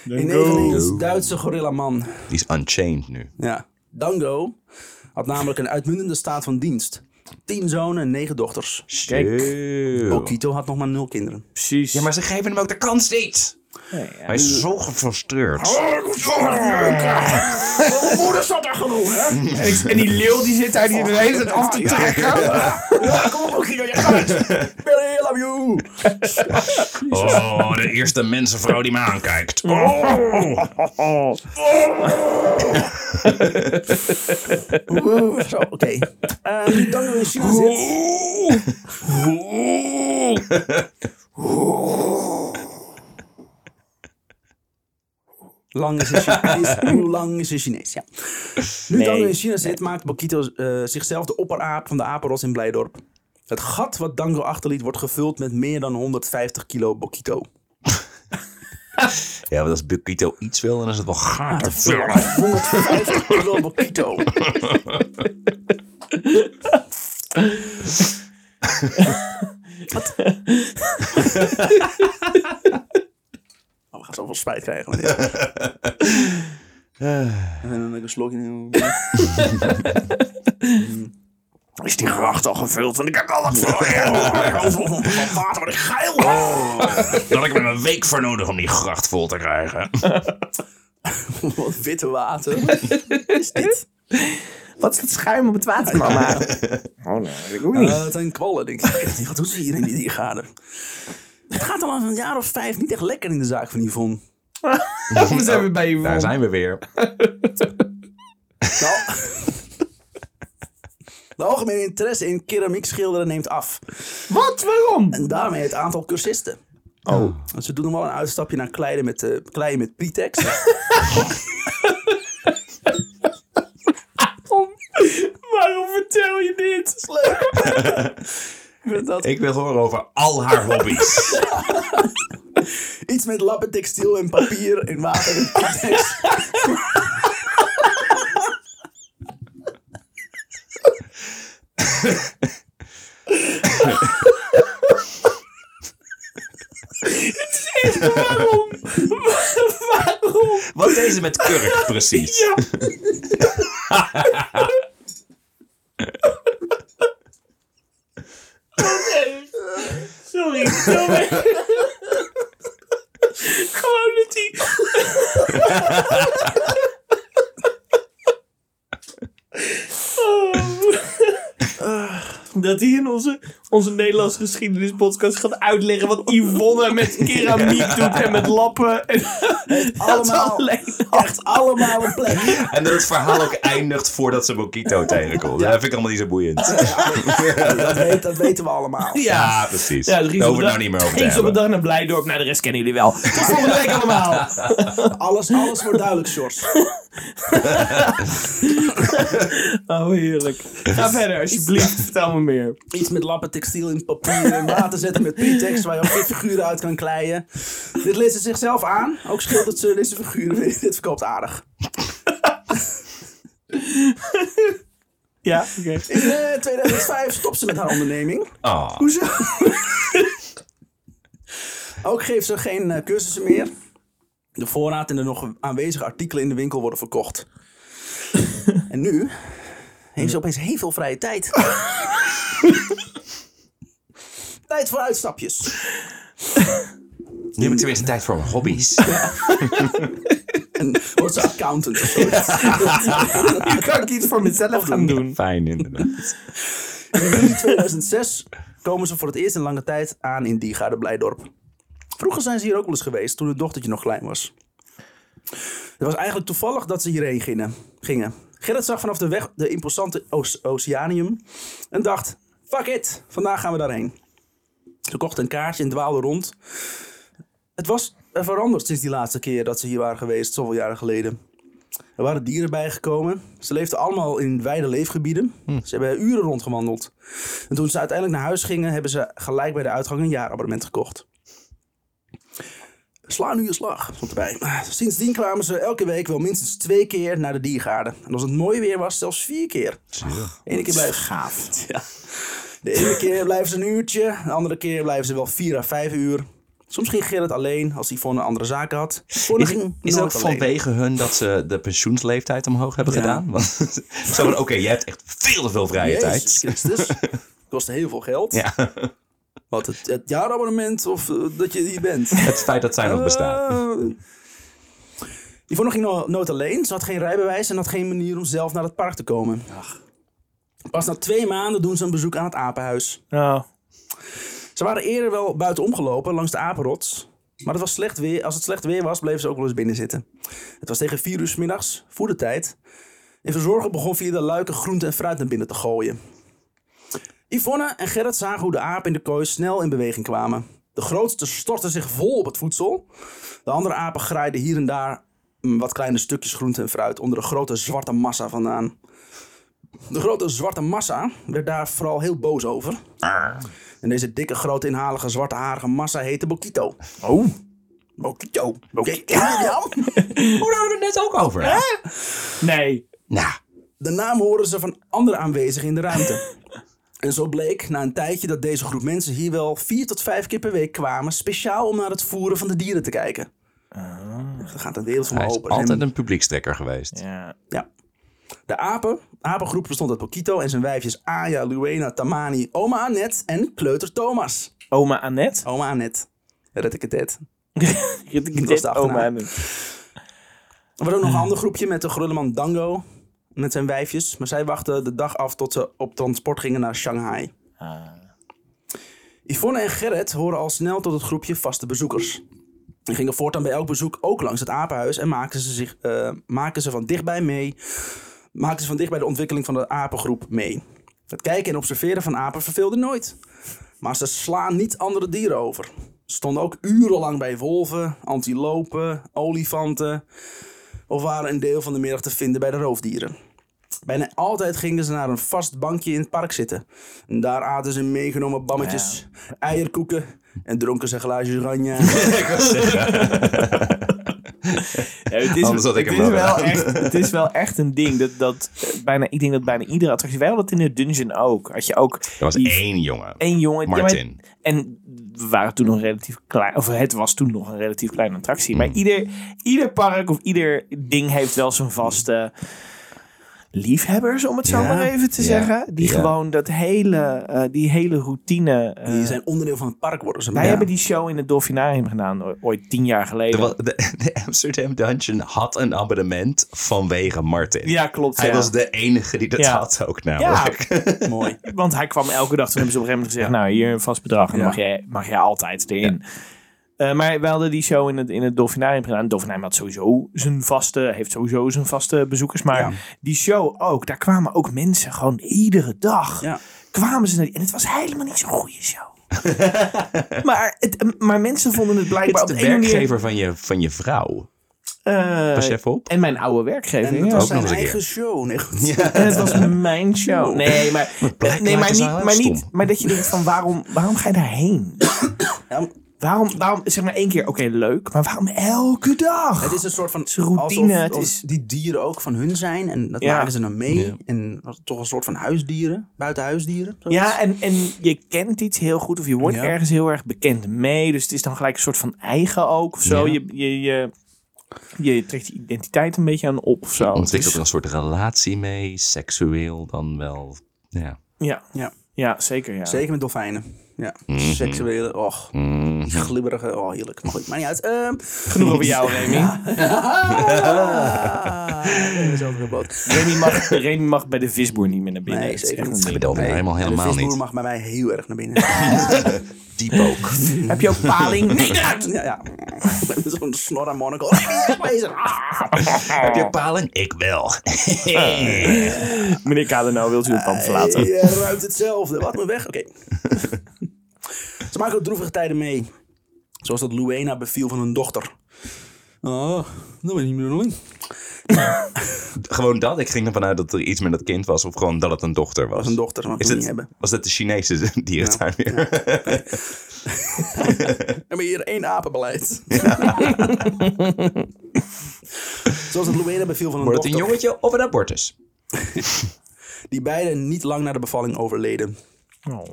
Speaker 1: In eveneens Duitse gorillaman.
Speaker 3: Die is unchained nu.
Speaker 1: Ja. Dango had namelijk een uitmuntende staat van dienst. Tien zonen en negen dochters.
Speaker 2: Kijk.
Speaker 3: Eeuw.
Speaker 1: Bokito had nog maar nul kinderen.
Speaker 2: Precies.
Speaker 3: Ja, maar ze geven hem ook de kans niet. Oh,
Speaker 2: Nee, ja.
Speaker 3: Hij is zo gefrustreerd.
Speaker 4: Mijn moeder zat daar genoeg, hè?
Speaker 2: En, ik- en die Oh, leeuw die zit daar die de hele tijd af te trekken.
Speaker 4: Kom op, Guido, je gaat.
Speaker 1: Ik ben heel love you!
Speaker 3: Oh, de eerste mensenvrouw die me aankijkt. Oh.
Speaker 1: Oeh, zo, oké. Eh, nu dan in China zit. Lang is een Chinees. Hoe lang is een Chinees? Ja. Nu
Speaker 2: Nee.
Speaker 1: dan in China zit, maakt Bokito eh, zichzelf de opperaap van de apenros in Blijdorp. Het gat wat Dango achterliet wordt gevuld met meer dan 150 kilo Bokito.
Speaker 3: Ja, maar als Bukito iets wil, dan is het wel gaar te vullen.
Speaker 1: 150 kilo Bokito. Wat? Oh, we gaan zoveel spijt krijgen. van dit. En dan een slokje. Is die gracht al gevuld? En ik heb al wat voor. Water, wat ik geil. Oh.
Speaker 3: Daar had ik er een week voor nodig om die gracht vol te krijgen.
Speaker 1: Wat witte water. Wat is dit?
Speaker 2: Wat is dat schuim op het water, mama? oh, nee, weet ik ook niet.
Speaker 1: Eh, het zijn kwallen, denk ik. Wat doen ze hier in die diergaarden? Het gaat al een jaar of vijf niet echt lekker in de zaak van Yvonne.
Speaker 2: we zijn weer bij je
Speaker 3: Daar zijn we weer.
Speaker 1: Nou, de algemene interesse in keramiek schilderen neemt af.
Speaker 2: Wat? Waarom?
Speaker 1: En daarmee het aantal cursisten.
Speaker 2: Oh.
Speaker 1: Want ze doen nog wel een uitstapje naar kleiden met, eh kleien met pretext.
Speaker 2: Waarom vertel je dit?
Speaker 1: Ik vind dat
Speaker 3: Ik wil horen over al haar hobby's.
Speaker 1: Iets met lappen, textiel en papier en water en pretext.
Speaker 2: Waarom? Waarom?
Speaker 3: Wat deze met kurk precies?
Speaker 2: Ja. Sorry, sorry. Gewoon dat hij... Oh. Dat hij in onze, onze Nederlandse geschiedenispodcast gaat uitleggen wat Yvonne met keramiek doet en met lappen. En
Speaker 1: Allemaal,
Speaker 2: alleen
Speaker 1: echt allemaal een plek.
Speaker 3: En dat het verhaal ook eindigt voordat ze Bokito tegenkomt. Dat vind ik allemaal niet zo boeiend.
Speaker 1: Dat, weet, dat weten we allemaal.
Speaker 3: Ja, precies.
Speaker 2: Ja,
Speaker 3: Daar hoeven we het nou niet meer over te
Speaker 2: Eens op een
Speaker 3: hebben.
Speaker 2: dag naar Blijdorp, naar de rest kennen jullie wel. Tot volgende week allemaal.
Speaker 1: Alles, alles wordt duidelijk, Sjors.
Speaker 2: Oh, heerlijk. Ga verder, alsjeblieft. Vertel me meer.
Speaker 1: Iets met lappen, textiel in papier en water zetten met pretext waar je ook weer figuren uit kan kleien. Dit leest ze zichzelf aan. Ook schildert ze deze figuren weer. Dit verkoopt aardig.
Speaker 2: Ja, oké.
Speaker 1: In eh, 2005 stopt ze met haar onderneming.
Speaker 3: Ah,
Speaker 1: Hoezo? ook geeft ze geen eh, cursussen meer. De voorraad en de nog aanwezige artikelen in de winkel worden verkocht. en nu heeft ze opeens heel veel vrije tijd. tijd voor uitstapjes.
Speaker 3: nu heb ik tenminste tijd voor mijn hobby's.
Speaker 1: En wordt ze accountant of zoiets.
Speaker 2: Nu kan ik iets voor mezelf gaan doen.
Speaker 3: Fijn, inderdaad.
Speaker 1: In juli 2006 komen ze voor het eerst in lange tijd aan in Diegaarde Blijdorp. Vroeger zijn ze hier ook wel eens geweest, toen het dochtertje nog klein was. Het was eigenlijk toevallig dat ze hierheen gingen. gingen. Gerrit zag vanaf de weg de imposante Oce- Oceanium en dacht, fuck it, vandaag gaan we daarheen. Ze kocht een kaartje en dwaalde rond. Het was eh, veranderd sinds die laatste keer dat ze hier waren geweest, zoveel jaren geleden. Er waren dieren bijgekomen. Ze leefden allemaal in wijde leefgebieden.
Speaker 3: Hm.
Speaker 1: Ze hebben uren rondgewandeld. En toen ze uiteindelijk naar huis gingen, hebben ze gelijk bij de uitgang een jaarabonnement gekocht. Sla nu je slag, stond erbij. Sindsdien kwamen ze elke week wel minstens twee keer naar de diergaarden. En als het mooi weer was, zelfs vier keer. Eén keer blijven gaaf. Ja. De ene keer blijven ze een uurtje, de andere keer blijven ze wel vier à vijf uur. Soms ging Gerrit alleen als hij voor een andere zaak had. Voor
Speaker 3: Is,
Speaker 1: ging
Speaker 3: is het ook
Speaker 1: nooit alleen.
Speaker 3: vanwege hun dat ze de pensioensleeftijd omhoog hebben
Speaker 1: Ja.
Speaker 3: gedaan? Want, zo van, oké, je hebt echt veel te veel vrije
Speaker 1: Jezus
Speaker 3: tijd.
Speaker 1: Christus. kost heel veel geld.
Speaker 3: Ja,
Speaker 1: Wat, het, het jaarabonnement of eh, dat je hier bent?
Speaker 3: het feit dat zij nog bestaan.
Speaker 1: Eh, Yvonne ging no- nooit alleen. Ze had geen rijbewijs en had geen manier om zelf naar het park te komen. Pas na twee maanden doen ze een bezoek aan het apenhuis.
Speaker 2: Oh.
Speaker 1: Ze waren eerder wel buiten omgelopen langs de apenrots. Maar het was slecht weer. als het slecht weer was, bleven ze ook wel eens binnen zitten. Het was tegen vier uur 's middags, voedertijd. En verzorger begon via de luiken groente en fruit naar binnen te gooien. Yvonne en Gerrit zagen hoe de apen in de kooi snel in beweging kwamen. De grootste stortte zich vol op het voedsel. De andere apen graaiden hier en daar mm, wat kleine stukjes groente en fruit onder de grote zwarte massa vandaan. De grote zwarte massa werd daar vooral heel boos over. En deze dikke, grote, inhalige, zwarte, harige massa heette Bokito.
Speaker 2: Oh.
Speaker 1: Bokito. Bokito. Hoe hadden we het net ook over?
Speaker 3: Eh?
Speaker 2: Nee.
Speaker 3: Nou,
Speaker 1: De naam horen ze van andere aanwezigen in de ruimte. En zo bleek na een tijdje dat deze groep mensen hier wel vier tot vijf keer per week kwamen, speciaal om naar het voeren van de dieren te kijken. Dan gaat een wereld voor me
Speaker 3: Ah. hij is
Speaker 1: open.
Speaker 3: altijd
Speaker 1: En
Speaker 3: een publiekstrekker geweest.
Speaker 2: Ja.
Speaker 1: De apen, apengroep bestond uit Pokito en zijn wijfjes Aya, Luena, Tamani, oma Annette en kleuter Thomas.
Speaker 2: Oma Annette.
Speaker 1: Oma Annette, red ik het net.
Speaker 2: Ik
Speaker 1: was de achternaam.
Speaker 2: oma Annette.
Speaker 1: Er was ook nog een ander groepje met de Grulleman Dango. Met zijn wijfjes. Maar zij wachten de dag af tot ze op transport gingen naar Shanghai. Yvonne en Gerrit horen al snel tot het groepje vaste bezoekers. Die gingen voortaan bij elk bezoek ook langs het apenhuis en maakten ze, zich, eh, maakten ze van dichtbij mee. Maakten ze van dichtbij de ontwikkeling van de apengroep mee. Het kijken en observeren van apen verveelde nooit. Maar ze slaan niet andere dieren over. Ze stonden ook urenlang bij wolven, antilopen, olifanten of waren een deel van de middag te vinden bij de roofdieren. Bijna altijd gingen ze naar een vast bankje in het park zitten. En daar aten ze meegenomen bammetjes,
Speaker 2: Nou
Speaker 1: eierkoeken en dronken ze glaasjes oranje.
Speaker 2: Ja, het is,
Speaker 3: Anders had ik
Speaker 2: het
Speaker 3: hem
Speaker 2: is
Speaker 3: wel
Speaker 2: wel
Speaker 3: gedaan.
Speaker 2: echt, het is wel echt een ding. Dat, dat eh, bijna, ik denk dat bijna iedere attractie... Wij hadden dat in de dungeon ook. Had je ook
Speaker 3: Er was
Speaker 2: die
Speaker 3: één jongen.
Speaker 2: één jongen... ja, maar-
Speaker 3: Martin.
Speaker 2: en we waren toen nog relatief klein... Of het was toen nog een relatief kleine attractie.
Speaker 3: Hmm.
Speaker 2: Maar ieder, ieder park of ieder ding heeft wel zijn vaste... Liefhebbers, om het zo
Speaker 3: Ja,
Speaker 2: maar even te
Speaker 3: ja,
Speaker 2: zeggen. Die
Speaker 3: ja.
Speaker 2: gewoon dat hele, eh, die hele routine. eh,
Speaker 1: Die zijn onderdeel van het park worden ze.
Speaker 2: wij
Speaker 1: maar.
Speaker 2: hebben die show in het Dolfinarium gedaan, o- ooit tien jaar
Speaker 3: De,
Speaker 2: geleden.
Speaker 3: de, de Amsterdam Dungeon had een abonnement vanwege Martin.
Speaker 2: ja, klopt.
Speaker 3: Hij
Speaker 2: ja.
Speaker 3: was de enige die dat
Speaker 2: Ja.
Speaker 3: had ook
Speaker 2: ja,
Speaker 3: namelijk.
Speaker 1: mooi.
Speaker 2: Want hij kwam elke dag. Toen hebben ze op een gegeven moment gezegd: Nou, hier een vast bedrag. En
Speaker 1: Ja.
Speaker 2: mag, jij, mag jij altijd erin. Eh, maar we hadden die show in het, in het Dolfinarium gedaan. Het Dolfinarium had sowieso zijn vaste, heeft sowieso zijn vaste bezoekers. Maar
Speaker 1: Ja.
Speaker 2: die show ook, daar kwamen ook mensen gewoon iedere dag.
Speaker 1: Ja.
Speaker 2: Kwamen ze naar die. En het was helemaal niet zo'n goede show. maar, het, maar mensen vonden het
Speaker 3: Dit
Speaker 2: blijkbaar
Speaker 3: is
Speaker 2: op
Speaker 3: de
Speaker 2: de een of andere
Speaker 3: werkgever van je, van je vrouw.
Speaker 2: manier.
Speaker 3: Pas je
Speaker 2: eh,
Speaker 3: even op.
Speaker 2: en mijn oude werkgever.
Speaker 1: En dat
Speaker 2: ja.
Speaker 1: was
Speaker 3: Ook nog
Speaker 1: zijn
Speaker 3: eens een
Speaker 1: eigen
Speaker 3: keer.
Speaker 1: show. Nee, goed.
Speaker 2: En het was mijn show. Nee, maar,
Speaker 3: blijkbaar
Speaker 2: nee, maar,
Speaker 3: is
Speaker 2: niet,
Speaker 3: hij heel
Speaker 2: maar, niet,
Speaker 3: stom.
Speaker 2: maar dat je denkt van waarom, waarom ga je daarheen?
Speaker 1: Ja,
Speaker 2: Waarom, waarom zeg maar één keer, oké leuk, maar waarom elke dag?
Speaker 1: het is een soort van
Speaker 2: is een routine,
Speaker 1: alsof-
Speaker 2: het
Speaker 1: alsof
Speaker 2: is-
Speaker 1: die dieren ook van hun zijn en dat
Speaker 2: Ja.
Speaker 1: maken ze dan mee. En dat is toch een soort van huisdieren, buitenhuisdieren. zoiets.
Speaker 2: Ja, en, en je kent iets heel goed of je wordt
Speaker 1: Ja.
Speaker 2: ergens heel erg bekend mee. Dus het is dan gelijk een soort van eigen ook of zo.
Speaker 3: Ja.
Speaker 2: Je, je, je, je trekt je identiteit een beetje aan op of zo.
Speaker 3: Ontwikkelt er
Speaker 2: Dus-
Speaker 3: een soort relatie mee, seksueel dan wel. Ja.
Speaker 2: ja.
Speaker 1: Ja.
Speaker 2: Ja. ja, zeker ja.
Speaker 1: Zeker met dolfijnen. Ja.
Speaker 3: Mhm.
Speaker 1: Seksuele, och.
Speaker 3: Mm.
Speaker 1: Die glibberige, oh heerlijk. Maar goed, maar niet uit. Ehm,
Speaker 2: Genoeg over jou, Remy.
Speaker 1: Ah, dezelfde boot.
Speaker 2: Remy, mag, Remy mag bij de visboer niet meer naar binnen.
Speaker 1: Nee,
Speaker 2: Dat is
Speaker 1: zeker
Speaker 2: echt een
Speaker 1: niet.
Speaker 2: ding.
Speaker 3: Ik bedoel, helemaal, helemaal
Speaker 1: de visboer
Speaker 3: niet.
Speaker 1: mag bij mij heel erg naar binnen.
Speaker 3: Diep ook.
Speaker 2: Heb je ook paling? Nee, dat-
Speaker 1: ja, ja. Zo'n snor aan monocle. Oh, die is bezig. Ah.
Speaker 3: Heb je palen? Ik wel.
Speaker 2: Meneer Kadeno, wilt u het pand verlaten?
Speaker 1: Ah, Je ruikt hetzelfde. Wat me weg. Oké. Ze maken ook droevige tijden mee. Zoals dat Luena beviel van hun dochter. Oh, dat weet ik niet meer doen.
Speaker 3: gewoon dat. Ik ging ervan uit dat er iets met dat kind was. Of gewoon dat het een dochter was.
Speaker 1: Dat is een dochter, maar
Speaker 3: Is
Speaker 1: dat
Speaker 3: het-
Speaker 1: niet hebben.
Speaker 3: was dat de Chinese dierentuin weer?
Speaker 1: We hebben hier één apenbeleid. Zoals dat Luena beviel van hun
Speaker 3: Wordt
Speaker 1: dochter.
Speaker 3: het een jongetje of een abortus?
Speaker 1: Die beiden niet lang na de bevalling overleden.
Speaker 2: Oh.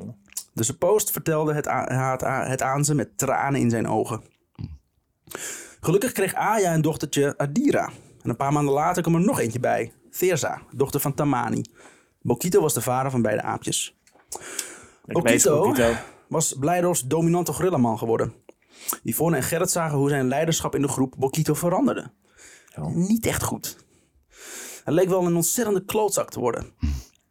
Speaker 1: Dus de post vertelde het, a- het, a- het aan ze met tranen in zijn ogen. Gelukkig kreeg Aya een dochtertje Adira. En een paar maanden later kwam er nog eentje bij. Thirza, dochter van Tamani. Bokito was de vader van beide aapjes.
Speaker 2: bezig,
Speaker 1: Bokito
Speaker 2: Bokito.
Speaker 1: was Blijdoors dominante gorillaman geworden. Yvonne en Gerrit zagen hoe zijn leiderschap in de groep Bokito veranderde.
Speaker 2: Oh.
Speaker 1: Niet echt goed. Hij leek wel een ontzettende klootzak te worden.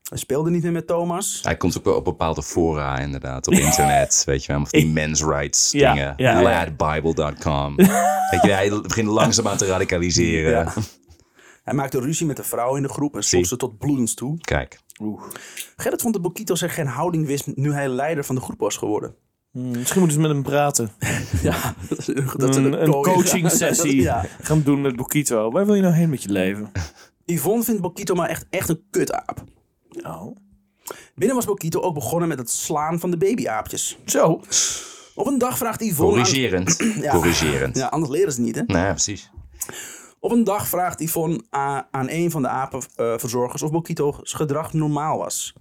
Speaker 1: Hij speelde niet meer met Thomas.
Speaker 3: Hij komt ook wel op bepaalde fora inderdaad, op internet, weet je wel. Of die men's rights
Speaker 2: Ja,
Speaker 3: dingen.
Speaker 2: ja, ja.
Speaker 3: Ladbible.com. weet je, hij begint langzaamaan te radicaliseren.
Speaker 1: Ja. Hij maakte ruzie met de vrouw in de groep en sloeg
Speaker 3: Zie.
Speaker 1: ze tot bloedens toe.
Speaker 3: Kijk,
Speaker 1: Gerrit vond dat Bokito zich geen houding wist nu hij leider van de groep was geworden.
Speaker 2: Misschien moeten ze met hem praten.
Speaker 1: Ja, dat is
Speaker 2: een, een coaching sessie
Speaker 1: Ja.
Speaker 2: gaan doen met Bokito. Waar wil je nou heen met je leven?
Speaker 1: Yvonne vindt Bokito maar echt, echt een kutaap.
Speaker 2: Nou,
Speaker 1: Binnen was Bokito ook begonnen met het slaan van de babyaapjes.
Speaker 2: zo.
Speaker 1: Op een dag vraagt Yvonne... aan-
Speaker 3: corrigerend.
Speaker 1: Ja.
Speaker 3: Corrigerend.
Speaker 1: Ja, anders leren ze het niet, hè?
Speaker 3: Nou ja, precies.
Speaker 1: Op een dag vraagt Yvonne a- aan een van de apenverzorgers of Bokito's gedrag normaal was.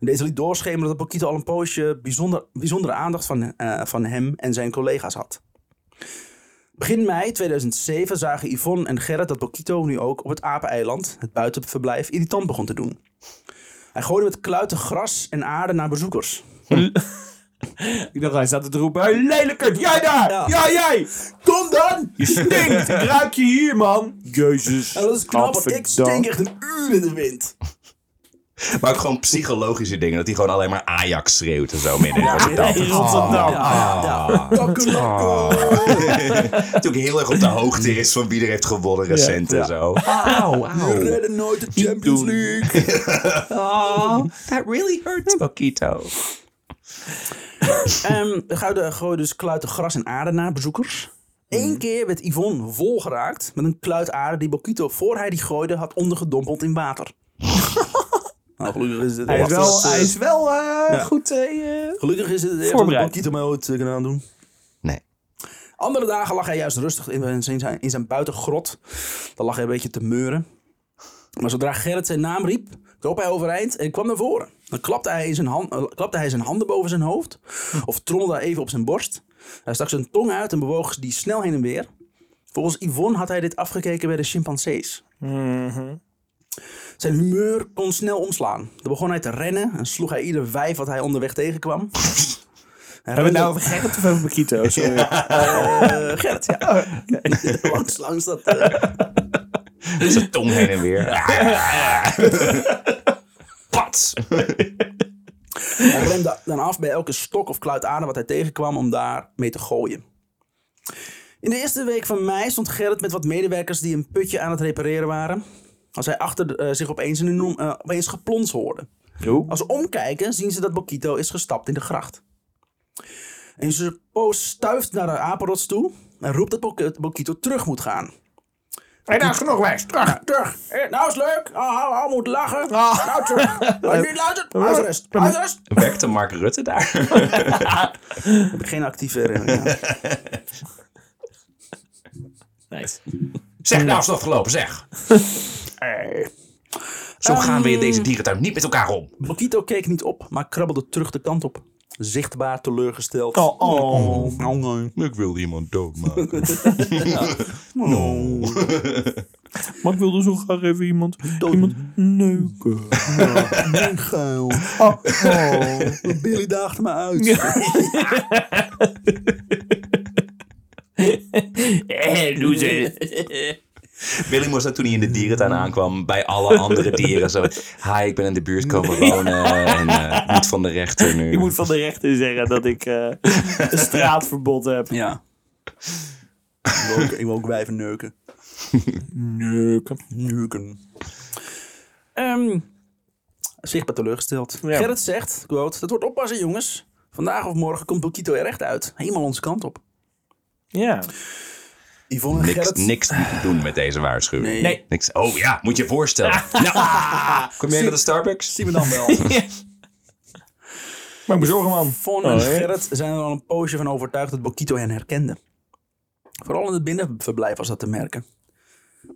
Speaker 1: Deze liet doorschemeren dat Bokito al een poosje bijzonder, bijzondere aandacht van, eh, van hem en zijn collega's had. Begin mei 2007 zagen Yvonne en Gerrit dat Bokito nu ook op het apeneiland, het buitenverblijf, irritant begon te doen. Hij gooide met kluiten gras en aarde naar bezoekers.
Speaker 2: Ik dacht, hij staat te roepen. Hey, lelijkert, jij daar!
Speaker 1: Ja.
Speaker 2: Ja, jij!
Speaker 1: Kom dan!
Speaker 2: Je stinkt! Ik ruik je hier, man! Jezus.
Speaker 1: En dat is knap, want ik
Speaker 2: Godverdamme.
Speaker 1: stink echt een uur in de wind.
Speaker 3: Maar ook gewoon psychologische dingen. Dat hij gewoon alleen maar Ajax schreeuwt en zo midden in Rotterdam.
Speaker 2: In Rotterdam.
Speaker 1: Ja, ja.
Speaker 2: Ah.
Speaker 1: Kakkerlakken.
Speaker 3: Dat hij ook heel erg op de hoogte is van wie er heeft gewonnen recent en zo.
Speaker 2: Auw,
Speaker 1: We redden nooit de Champions League.
Speaker 2: Ah.
Speaker 3: That really hurts, Bakito.
Speaker 1: Ehm Gouden gooide dus kluiten gras en aarde naar bezoekers.
Speaker 2: Hmm.
Speaker 1: Eén keer werd Yvonne volgeraakt met een kluit aarde die Bokito voor hij die gooide had ondergedompeld in water. nou, gelukkig is dit
Speaker 2: Hij is
Speaker 1: Wacht, dat
Speaker 2: wel,
Speaker 1: is,
Speaker 2: hij
Speaker 1: eh,
Speaker 2: is wel eh, goed. eh, eh,
Speaker 1: Gelukkig is dit echt wat
Speaker 2: Voorbereid.
Speaker 1: Bokito mij ooit eh, kan aandoen.
Speaker 3: Nee.
Speaker 1: Andere dagen lag hij juist rustig in, in zijn, in zijn buitengrot. Dan lag hij een beetje te meuren. Maar zodra Gerrit zijn naam riep, kroop hij overeind en kwam naar voren. Dan klapte hij zijn, hand, eh, klapte hij zijn handen boven zijn hoofd. Of trommelde even op zijn borst. Hij stak zijn tong uit en bewoog die snel heen en weer. Volgens Yvonne had hij dit afgekeken bij de chimpansees.
Speaker 2: Mhm.
Speaker 1: Zijn humeur kon snel omslaan. Dan begon hij te rennen en sloeg hij ieder wijf wat hij onderweg tegenkwam. Hij
Speaker 2: Hebben we
Speaker 1: rende-
Speaker 2: het nou over Gerrit of over Bakito? Sorry.
Speaker 1: eh, Gerrit, ja. langs, langs dat. eh,
Speaker 3: Zijn tong heen en weer. Pat!
Speaker 1: Hij rende dan af bij elke stok of kluit aan wat hij tegenkwam om daar mee te gooien. In de eerste week van mei stond Gerrit met wat medewerkers die een putje aan het repareren waren. Als hij achter de- eh, zich opeens, in een noem- eh, opeens geplons hoorde. Als ze omkijken zien ze dat Bokito is gestapt in de gracht. En ze poos stuift naar de apenrots toe en roept dat Bok- Bokito terug moet gaan.
Speaker 4: Hé, daar is genoeg wijs. Terug.
Speaker 1: Terug. Eh, Nou is leuk. Oh, oh, oh, moet lachen.
Speaker 2: Ah.
Speaker 1: Nou terug. Nou, niet luistert. Huisarrest. Huisarrest.
Speaker 3: Werkte Mark Rutte daar?
Speaker 1: Heb ik geen actieve herinnering aan.
Speaker 2: Nice.
Speaker 3: Zeg, nou is dat gelopen, zeg. Zo
Speaker 2: Eh.
Speaker 3: gaan we in deze dierentuin niet met elkaar om.
Speaker 1: Bokito keek niet op, maar krabbelde terug de kant op. Zichtbaar teleurgesteld.
Speaker 2: Oh, oh.
Speaker 1: Nou, nee.
Speaker 3: Ik wil iemand doodmaken.
Speaker 2: Maar ik wilde zo graag even iemand,
Speaker 1: Dood.
Speaker 2: iemand neuken.
Speaker 1: Nee, geil.
Speaker 2: Oh, oh.
Speaker 1: Billy daagde me uit.
Speaker 2: Eh, loser.
Speaker 3: Willy moest dat toen hij in de
Speaker 2: Mm.
Speaker 3: dierentuin aankwam bij alle andere dieren. Zo, hi, ik ben in de buurt komen wonen en eh, moet van de rechter nu.
Speaker 2: Ik moet van de rechter zeggen dat ik eh, een straatverbod heb.
Speaker 1: Ja. Ik wil ook, ik wil ook wijven neuken.
Speaker 2: Neuken.
Speaker 1: Neuken. Ehm, zichtbaar teleurgesteld.
Speaker 2: Ja.
Speaker 1: Gerrit zegt, quote, dat wordt oppassen jongens. Vandaag of morgen komt Bokito er echt uit. Helemaal onze kant op.
Speaker 2: Ja.
Speaker 1: Yvonne en
Speaker 3: Niks,
Speaker 1: Gerrit...
Speaker 3: niks te doen met deze waarschuwing.
Speaker 1: Nee.
Speaker 2: Nee.
Speaker 3: Niks. Oh ja, moet je je voorstellen. Nou, kom jij naar de Starbucks?
Speaker 1: Zien we dan wel.
Speaker 2: Maar bezorgen man.
Speaker 1: Von en Gerrit zijn er al een poosje van overtuigd dat Bokito hen herkende. Vooral in het binnenverblijf was dat te merken.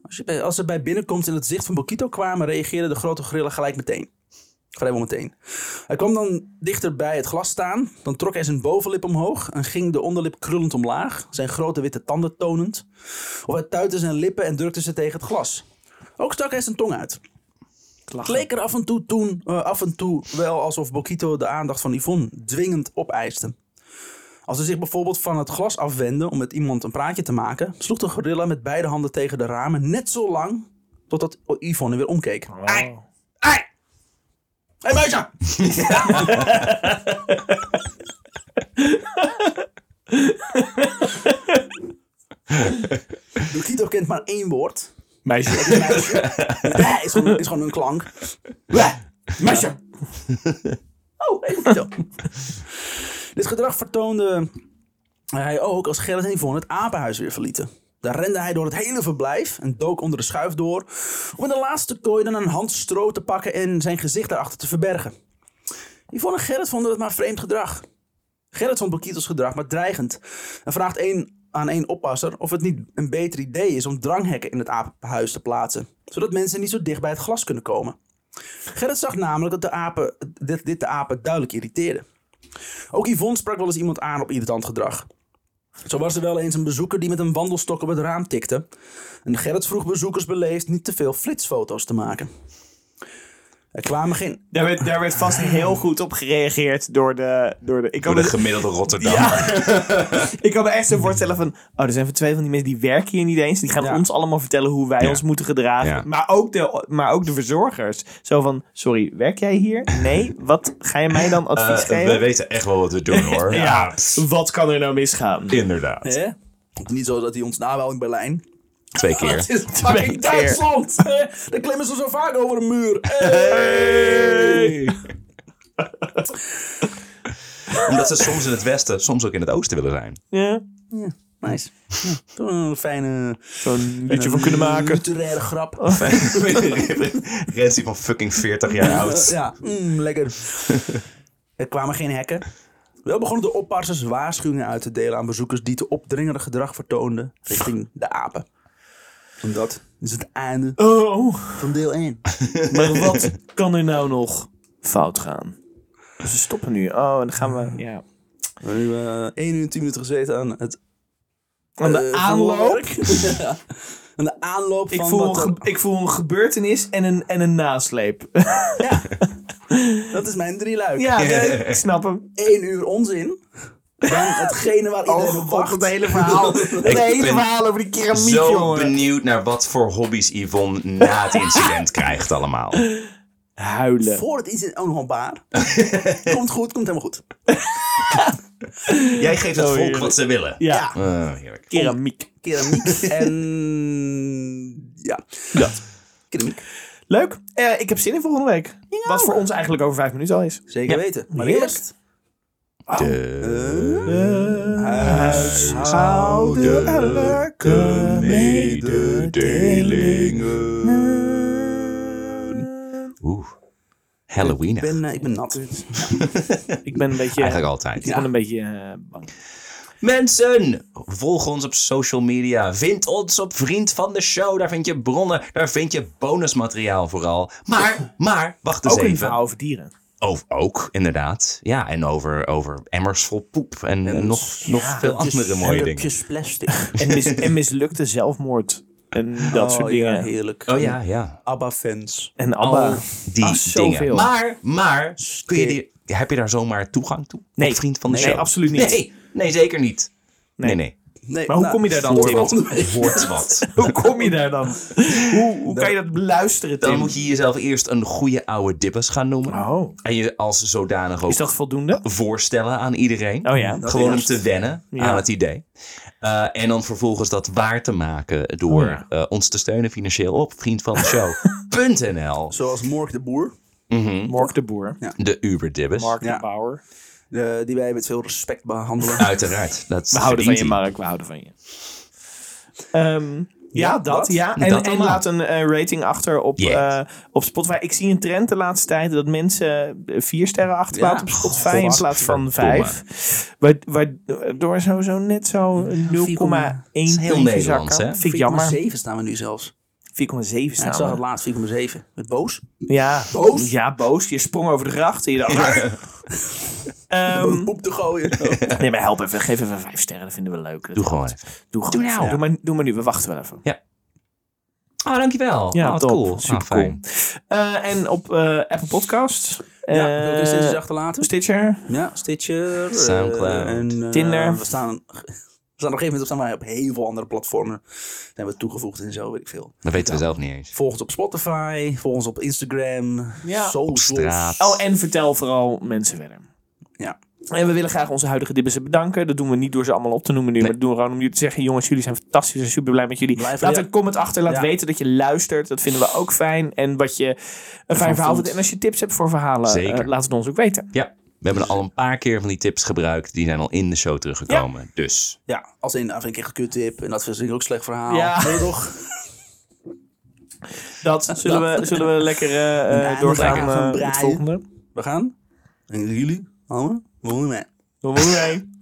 Speaker 1: Als, je bij, als ze bij binnenkomst in het zicht van Bokito kwamen, reageerden de grote grillen gelijk meteen. Vrijwel meteen. Hij kwam dan dichter bij het glas staan, dan trok hij zijn bovenlip omhoog en ging de onderlip krullend omlaag, zijn grote witte tanden tonend. Of hij tuitte zijn lippen en drukte ze tegen het glas. Ook stak hij zijn tong uit. Het leek er af en toe, toen, eh, af en toe wel alsof Bokito de aandacht van Yvonne dwingend opeiste. Als ze zich bijvoorbeeld van het glas afwendde om met iemand een praatje te maken, sloeg de gorilla met beide handen tegen de
Speaker 2: Ah,
Speaker 1: ramen net zo lang totdat Yvonne weer omkeek.
Speaker 2: Oh.
Speaker 1: Hé, hey, muizen! Lokito kent maar één woord.
Speaker 5: Meisje.
Speaker 1: Muisje. Bleh is gewoon, is gewoon een klank. Bleh.
Speaker 6: Meisje.
Speaker 1: Oh, even zo. Dit gedrag vertoonde hij ook als Gerrit en Yvonne het apenhuis weer verlieten. Daar rende hij door het hele verblijf en dook onder de schuif door... om in de laatste kooi dan een hand stro te pakken en zijn gezicht daarachter te verbergen. Yvonne en Gerrit vonden het maar vreemd gedrag. Gerrit vond Bokitos gedrag maar dreigend... en vraagt één aan één oppasser of het niet een beter idee is... om dranghekken in het apenhuis te plaatsen... zodat mensen niet zo dicht bij het glas kunnen komen. Gerrit zag namelijk dat de apen, dit, dit de apen duidelijk irriteerde. Ook Yvonne sprak wel eens iemand aan op irritant gedrag. Zo was er wel eens een bezoeker die met een wandelstok op het raam tikte. En Gerrit vroeg bezoekers beleefd niet te veel flitsfoto's te maken. Er kwamen geen...
Speaker 2: Daar werd, daar werd vast heel goed op gereageerd door de... Door de ik, kan
Speaker 3: Door de
Speaker 2: me,
Speaker 3: gemiddelde Rotterdam.
Speaker 2: ik kan me echt zo voorstellen van... Oh, er zijn van twee van die mensen die werken hier niet eens. Die gaan
Speaker 1: Ja.
Speaker 2: ons allemaal vertellen hoe wij
Speaker 3: Ja.
Speaker 2: ons moeten gedragen.
Speaker 3: Ja.
Speaker 2: Maar, ook de, maar ook de verzorgers. Zo van, sorry, werk jij hier? Nee? Wat ga je mij dan advies
Speaker 3: Eh,
Speaker 2: geven?
Speaker 3: we weten echt wel wat we doen hoor.
Speaker 2: ja, wat kan er nou misgaan?
Speaker 3: Inderdaad.
Speaker 1: Hè? Niet zo dat hij ons nawel in Berlijn.
Speaker 3: Twee keer.
Speaker 1: Het is fucking
Speaker 2: Twee keer.
Speaker 1: Duitsland! Eh, Daar klimmen ze zo vaak over een muur. Eh.
Speaker 3: Omdat ze soms in het westen, soms ook in het oosten willen zijn.
Speaker 2: Ja.
Speaker 1: Nice. Ja, toch een fijne...
Speaker 2: Zo'n liedje van Hm. kunnen maken. Oh,
Speaker 1: Literaire grap.
Speaker 3: Rensie van fucking 40 jaar oud.
Speaker 1: Ja, mm, lekker. er kwamen geen hekken. Wel begonnen de oppassers waarschuwingen uit te delen aan bezoekers die te opdringerig gedrag vertoonden richting de apen. En dat is het einde
Speaker 2: Oh,
Speaker 1: van deel 1.
Speaker 2: maar wat kan er nou nog fout gaan? Ze stoppen nu. Oh, en dan gaan we... Ja.
Speaker 1: We hebben nu eh 1 uur en 10 minuten gezeten aan het
Speaker 2: Aan de
Speaker 1: eh,
Speaker 2: aanloop.
Speaker 1: verwerk. ja. Aan de aanloop
Speaker 2: Ik
Speaker 1: van
Speaker 2: voel, een
Speaker 1: wat er-
Speaker 2: ge- ik voel een gebeurtenis en een, en een nasleep.
Speaker 1: Ja. Dat is mijn drieluik.
Speaker 2: ja, ik snap hem.
Speaker 1: 1 uur onzin. Dan hetgene waar iedereen op wacht.
Speaker 2: Oh, hele verhaal. Het
Speaker 3: ben
Speaker 2: over die keramiek,
Speaker 3: Zo benieuwd naar wat voor hobby's Yvonne na het incident krijgt allemaal.
Speaker 2: Huilen.
Speaker 1: Voor het incident ook nog een paar. komt goed, komt helemaal goed.
Speaker 3: Jij geeft het
Speaker 2: Oh,
Speaker 3: volk
Speaker 2: heerlijk.
Speaker 3: wat ze willen.
Speaker 2: Ja,
Speaker 1: Ja.
Speaker 3: Eh, heerlijk.
Speaker 2: keramiek.
Speaker 1: Keramiek en... Ja. Dat. Keramiek.
Speaker 2: Leuk. Eh, ik heb zin in volgende week. Wat voor ons eigenlijk over vijf minuten al is.
Speaker 1: Zeker
Speaker 2: Ja.
Speaker 1: weten. Maar
Speaker 2: Heerlijk.
Speaker 1: eerst...
Speaker 3: De
Speaker 2: Huishoudelijke
Speaker 3: Oeh. Halloween.
Speaker 1: Ik ben, eh, ik ben nat.
Speaker 2: Ik ben een beetje...
Speaker 3: Eigenlijk altijd.
Speaker 2: Ik ben een beetje eh, bang.
Speaker 3: Mensen, volg ons op social media. Vind ons op Vriend van de Show. Daar vind je bronnen, daar vind je bonusmateriaal vooral. Maar, maar, wacht eens
Speaker 2: Ook een
Speaker 3: even.
Speaker 2: verhaal over dieren.
Speaker 3: Over, ook, inderdaad. Ja, en over, over emmers vol poep en, en nog,
Speaker 2: dus
Speaker 3: nog veel andere mooie dingen.
Speaker 1: Hennepjes plastic.
Speaker 2: En, mis- en mislukte zelfmoord. En dat soort
Speaker 1: Oh,
Speaker 2: dingen.
Speaker 1: ja, heerlijk.
Speaker 3: Oh ja, ja.
Speaker 1: ABBA-fans.
Speaker 2: En Abba.
Speaker 3: Die
Speaker 2: Ah, zoveel.
Speaker 3: dingen. Maar, maar, kun je die, heb je daar zomaar toegang toe?
Speaker 2: Nee.
Speaker 3: Op Vriend van de
Speaker 2: Nee,
Speaker 3: Show?
Speaker 2: absoluut niet.
Speaker 3: Nee, nee zeker niet. Nee, nee.
Speaker 1: Nee, nou,
Speaker 2: Maar hoe kom je daar dan,
Speaker 1: voor
Speaker 2: Tim?
Speaker 1: volgende week.
Speaker 3: Hoort wat.
Speaker 2: Hoe kom je daar dan? Hoe, hoe kan je dat beluisteren,
Speaker 3: Dan
Speaker 2: Tim?
Speaker 3: moet je jezelf eerst een goede oude dippers gaan noemen.
Speaker 2: Oh.
Speaker 3: En je als zodanig ook
Speaker 2: Is dat voldoende?
Speaker 3: voorstellen aan iedereen.
Speaker 2: Oh ja.
Speaker 3: Gewoon om te wennen
Speaker 2: Ja.
Speaker 3: aan het idee. Eh, en dan vervolgens dat waar te maken door
Speaker 2: Oh
Speaker 3: eh, ons te steunen financieel op vriendvandeshow.nl.
Speaker 1: Zoals Mork de Boer.
Speaker 3: Hmm?
Speaker 2: Mark de Boer.
Speaker 3: De Uberdibbes.
Speaker 2: Mark
Speaker 1: Ja.
Speaker 2: de Bauer.
Speaker 1: eh, die wij met veel respect behandelen.
Speaker 3: Uiteraard. Dat
Speaker 2: We houden van je,
Speaker 3: verdient hij.
Speaker 2: Mark. We houden van je. Ehm, ja, dat.
Speaker 1: dat.
Speaker 2: ja. En,
Speaker 3: Dat
Speaker 2: en
Speaker 3: allemaal.
Speaker 2: laat een eh, rating achter op,
Speaker 3: Yes.
Speaker 2: eh, op Spotify. Ik zie een trend de laatste tijd dat mensen eh, vier sterren achterlaten
Speaker 1: Ja.
Speaker 2: op Spotify in plaats van
Speaker 3: Godverdomme.
Speaker 2: vijf. Wa- Waardoor sowieso net zo 0,1
Speaker 3: is heel
Speaker 2: puntje
Speaker 3: Nederlands,
Speaker 2: zakken.
Speaker 3: hè?
Speaker 2: Vind ik jammer.
Speaker 1: 4,7 staan we nu zelfs.
Speaker 2: 4,7
Speaker 1: Ja, ik
Speaker 2: staan
Speaker 1: zag het
Speaker 2: we.
Speaker 1: laatst 4,7. Met boos.
Speaker 2: Ja,
Speaker 1: Boos?
Speaker 2: Ja, boos. Je sprong over de gracht en je dacht... "Ah, Ehm,
Speaker 1: Poep te gooien. Oh.
Speaker 2: nee, maar help even. Geef even vijf sterren. Dat vinden we leuk.
Speaker 3: Doe gewoon even.
Speaker 2: Doe gewoon. even.
Speaker 1: nou.
Speaker 2: Doe, maar, doe maar nu. We wachten wel even.
Speaker 3: Ah,
Speaker 2: Oh,
Speaker 3: dankjewel.
Speaker 2: Ja,
Speaker 3: Ah, wat
Speaker 2: top.
Speaker 3: cool.
Speaker 2: Super
Speaker 3: Ah, fijn.
Speaker 2: Eh, en op eh, Apple Podcasts.
Speaker 1: ja, wil ik er
Speaker 2: eh,
Speaker 1: steeds achterlaten?
Speaker 2: Stitcher.
Speaker 1: Ja, Stitcher. eh,
Speaker 3: Soundcloud.
Speaker 1: En, eh,
Speaker 2: Tinder.
Speaker 1: We staan staan op een gegeven moment staan wij op heel veel andere platformen. Daar hebben we toegevoegd en zo, weet ik veel.
Speaker 3: Dat weten we zelf niet eens.
Speaker 1: Volg ons op Spotify, volg ons op Instagram,
Speaker 2: Ja.
Speaker 3: Op
Speaker 1: socials.
Speaker 3: straat.
Speaker 2: Oh, en vertel vooral mensen verder.
Speaker 1: Ja.
Speaker 2: En we willen graag onze huidige dibbissen bedanken. Dat doen we niet door ze allemaal op te noemen nu. Maar dat doen we gewoon om jullie te zeggen... jongens, jullie zijn fantastisch en super blij met jullie.
Speaker 1: Blijf-
Speaker 2: laat
Speaker 1: ja.
Speaker 2: een comment achter. Laat
Speaker 1: Ja.
Speaker 2: weten dat je luistert. Dat vinden we ook fijn. En wat je een fijn
Speaker 1: vond.
Speaker 2: verhaal vindt. En als je tips hebt voor verhalen...
Speaker 3: Zeker.
Speaker 2: eh, laat het ons ook weten.
Speaker 3: Ja, we hebben al een paar keer van die tips gebruikt. Die zijn al in de show teruggekomen. Dus
Speaker 1: Ja, als in, dat vind ik echt een kuttip en dat vind ik ook een slecht verhaal.
Speaker 2: Ja.
Speaker 1: Nee, toch?
Speaker 2: Dat zullen we, zullen we lekker eh, eh,
Speaker 1: Nou,
Speaker 2: doorgaan
Speaker 1: lekker gaan
Speaker 2: eh, met
Speaker 1: braaien.
Speaker 2: het volgende.
Speaker 1: We gaan. En jullie, allemaal, volgende mij.
Speaker 2: Doen we mee.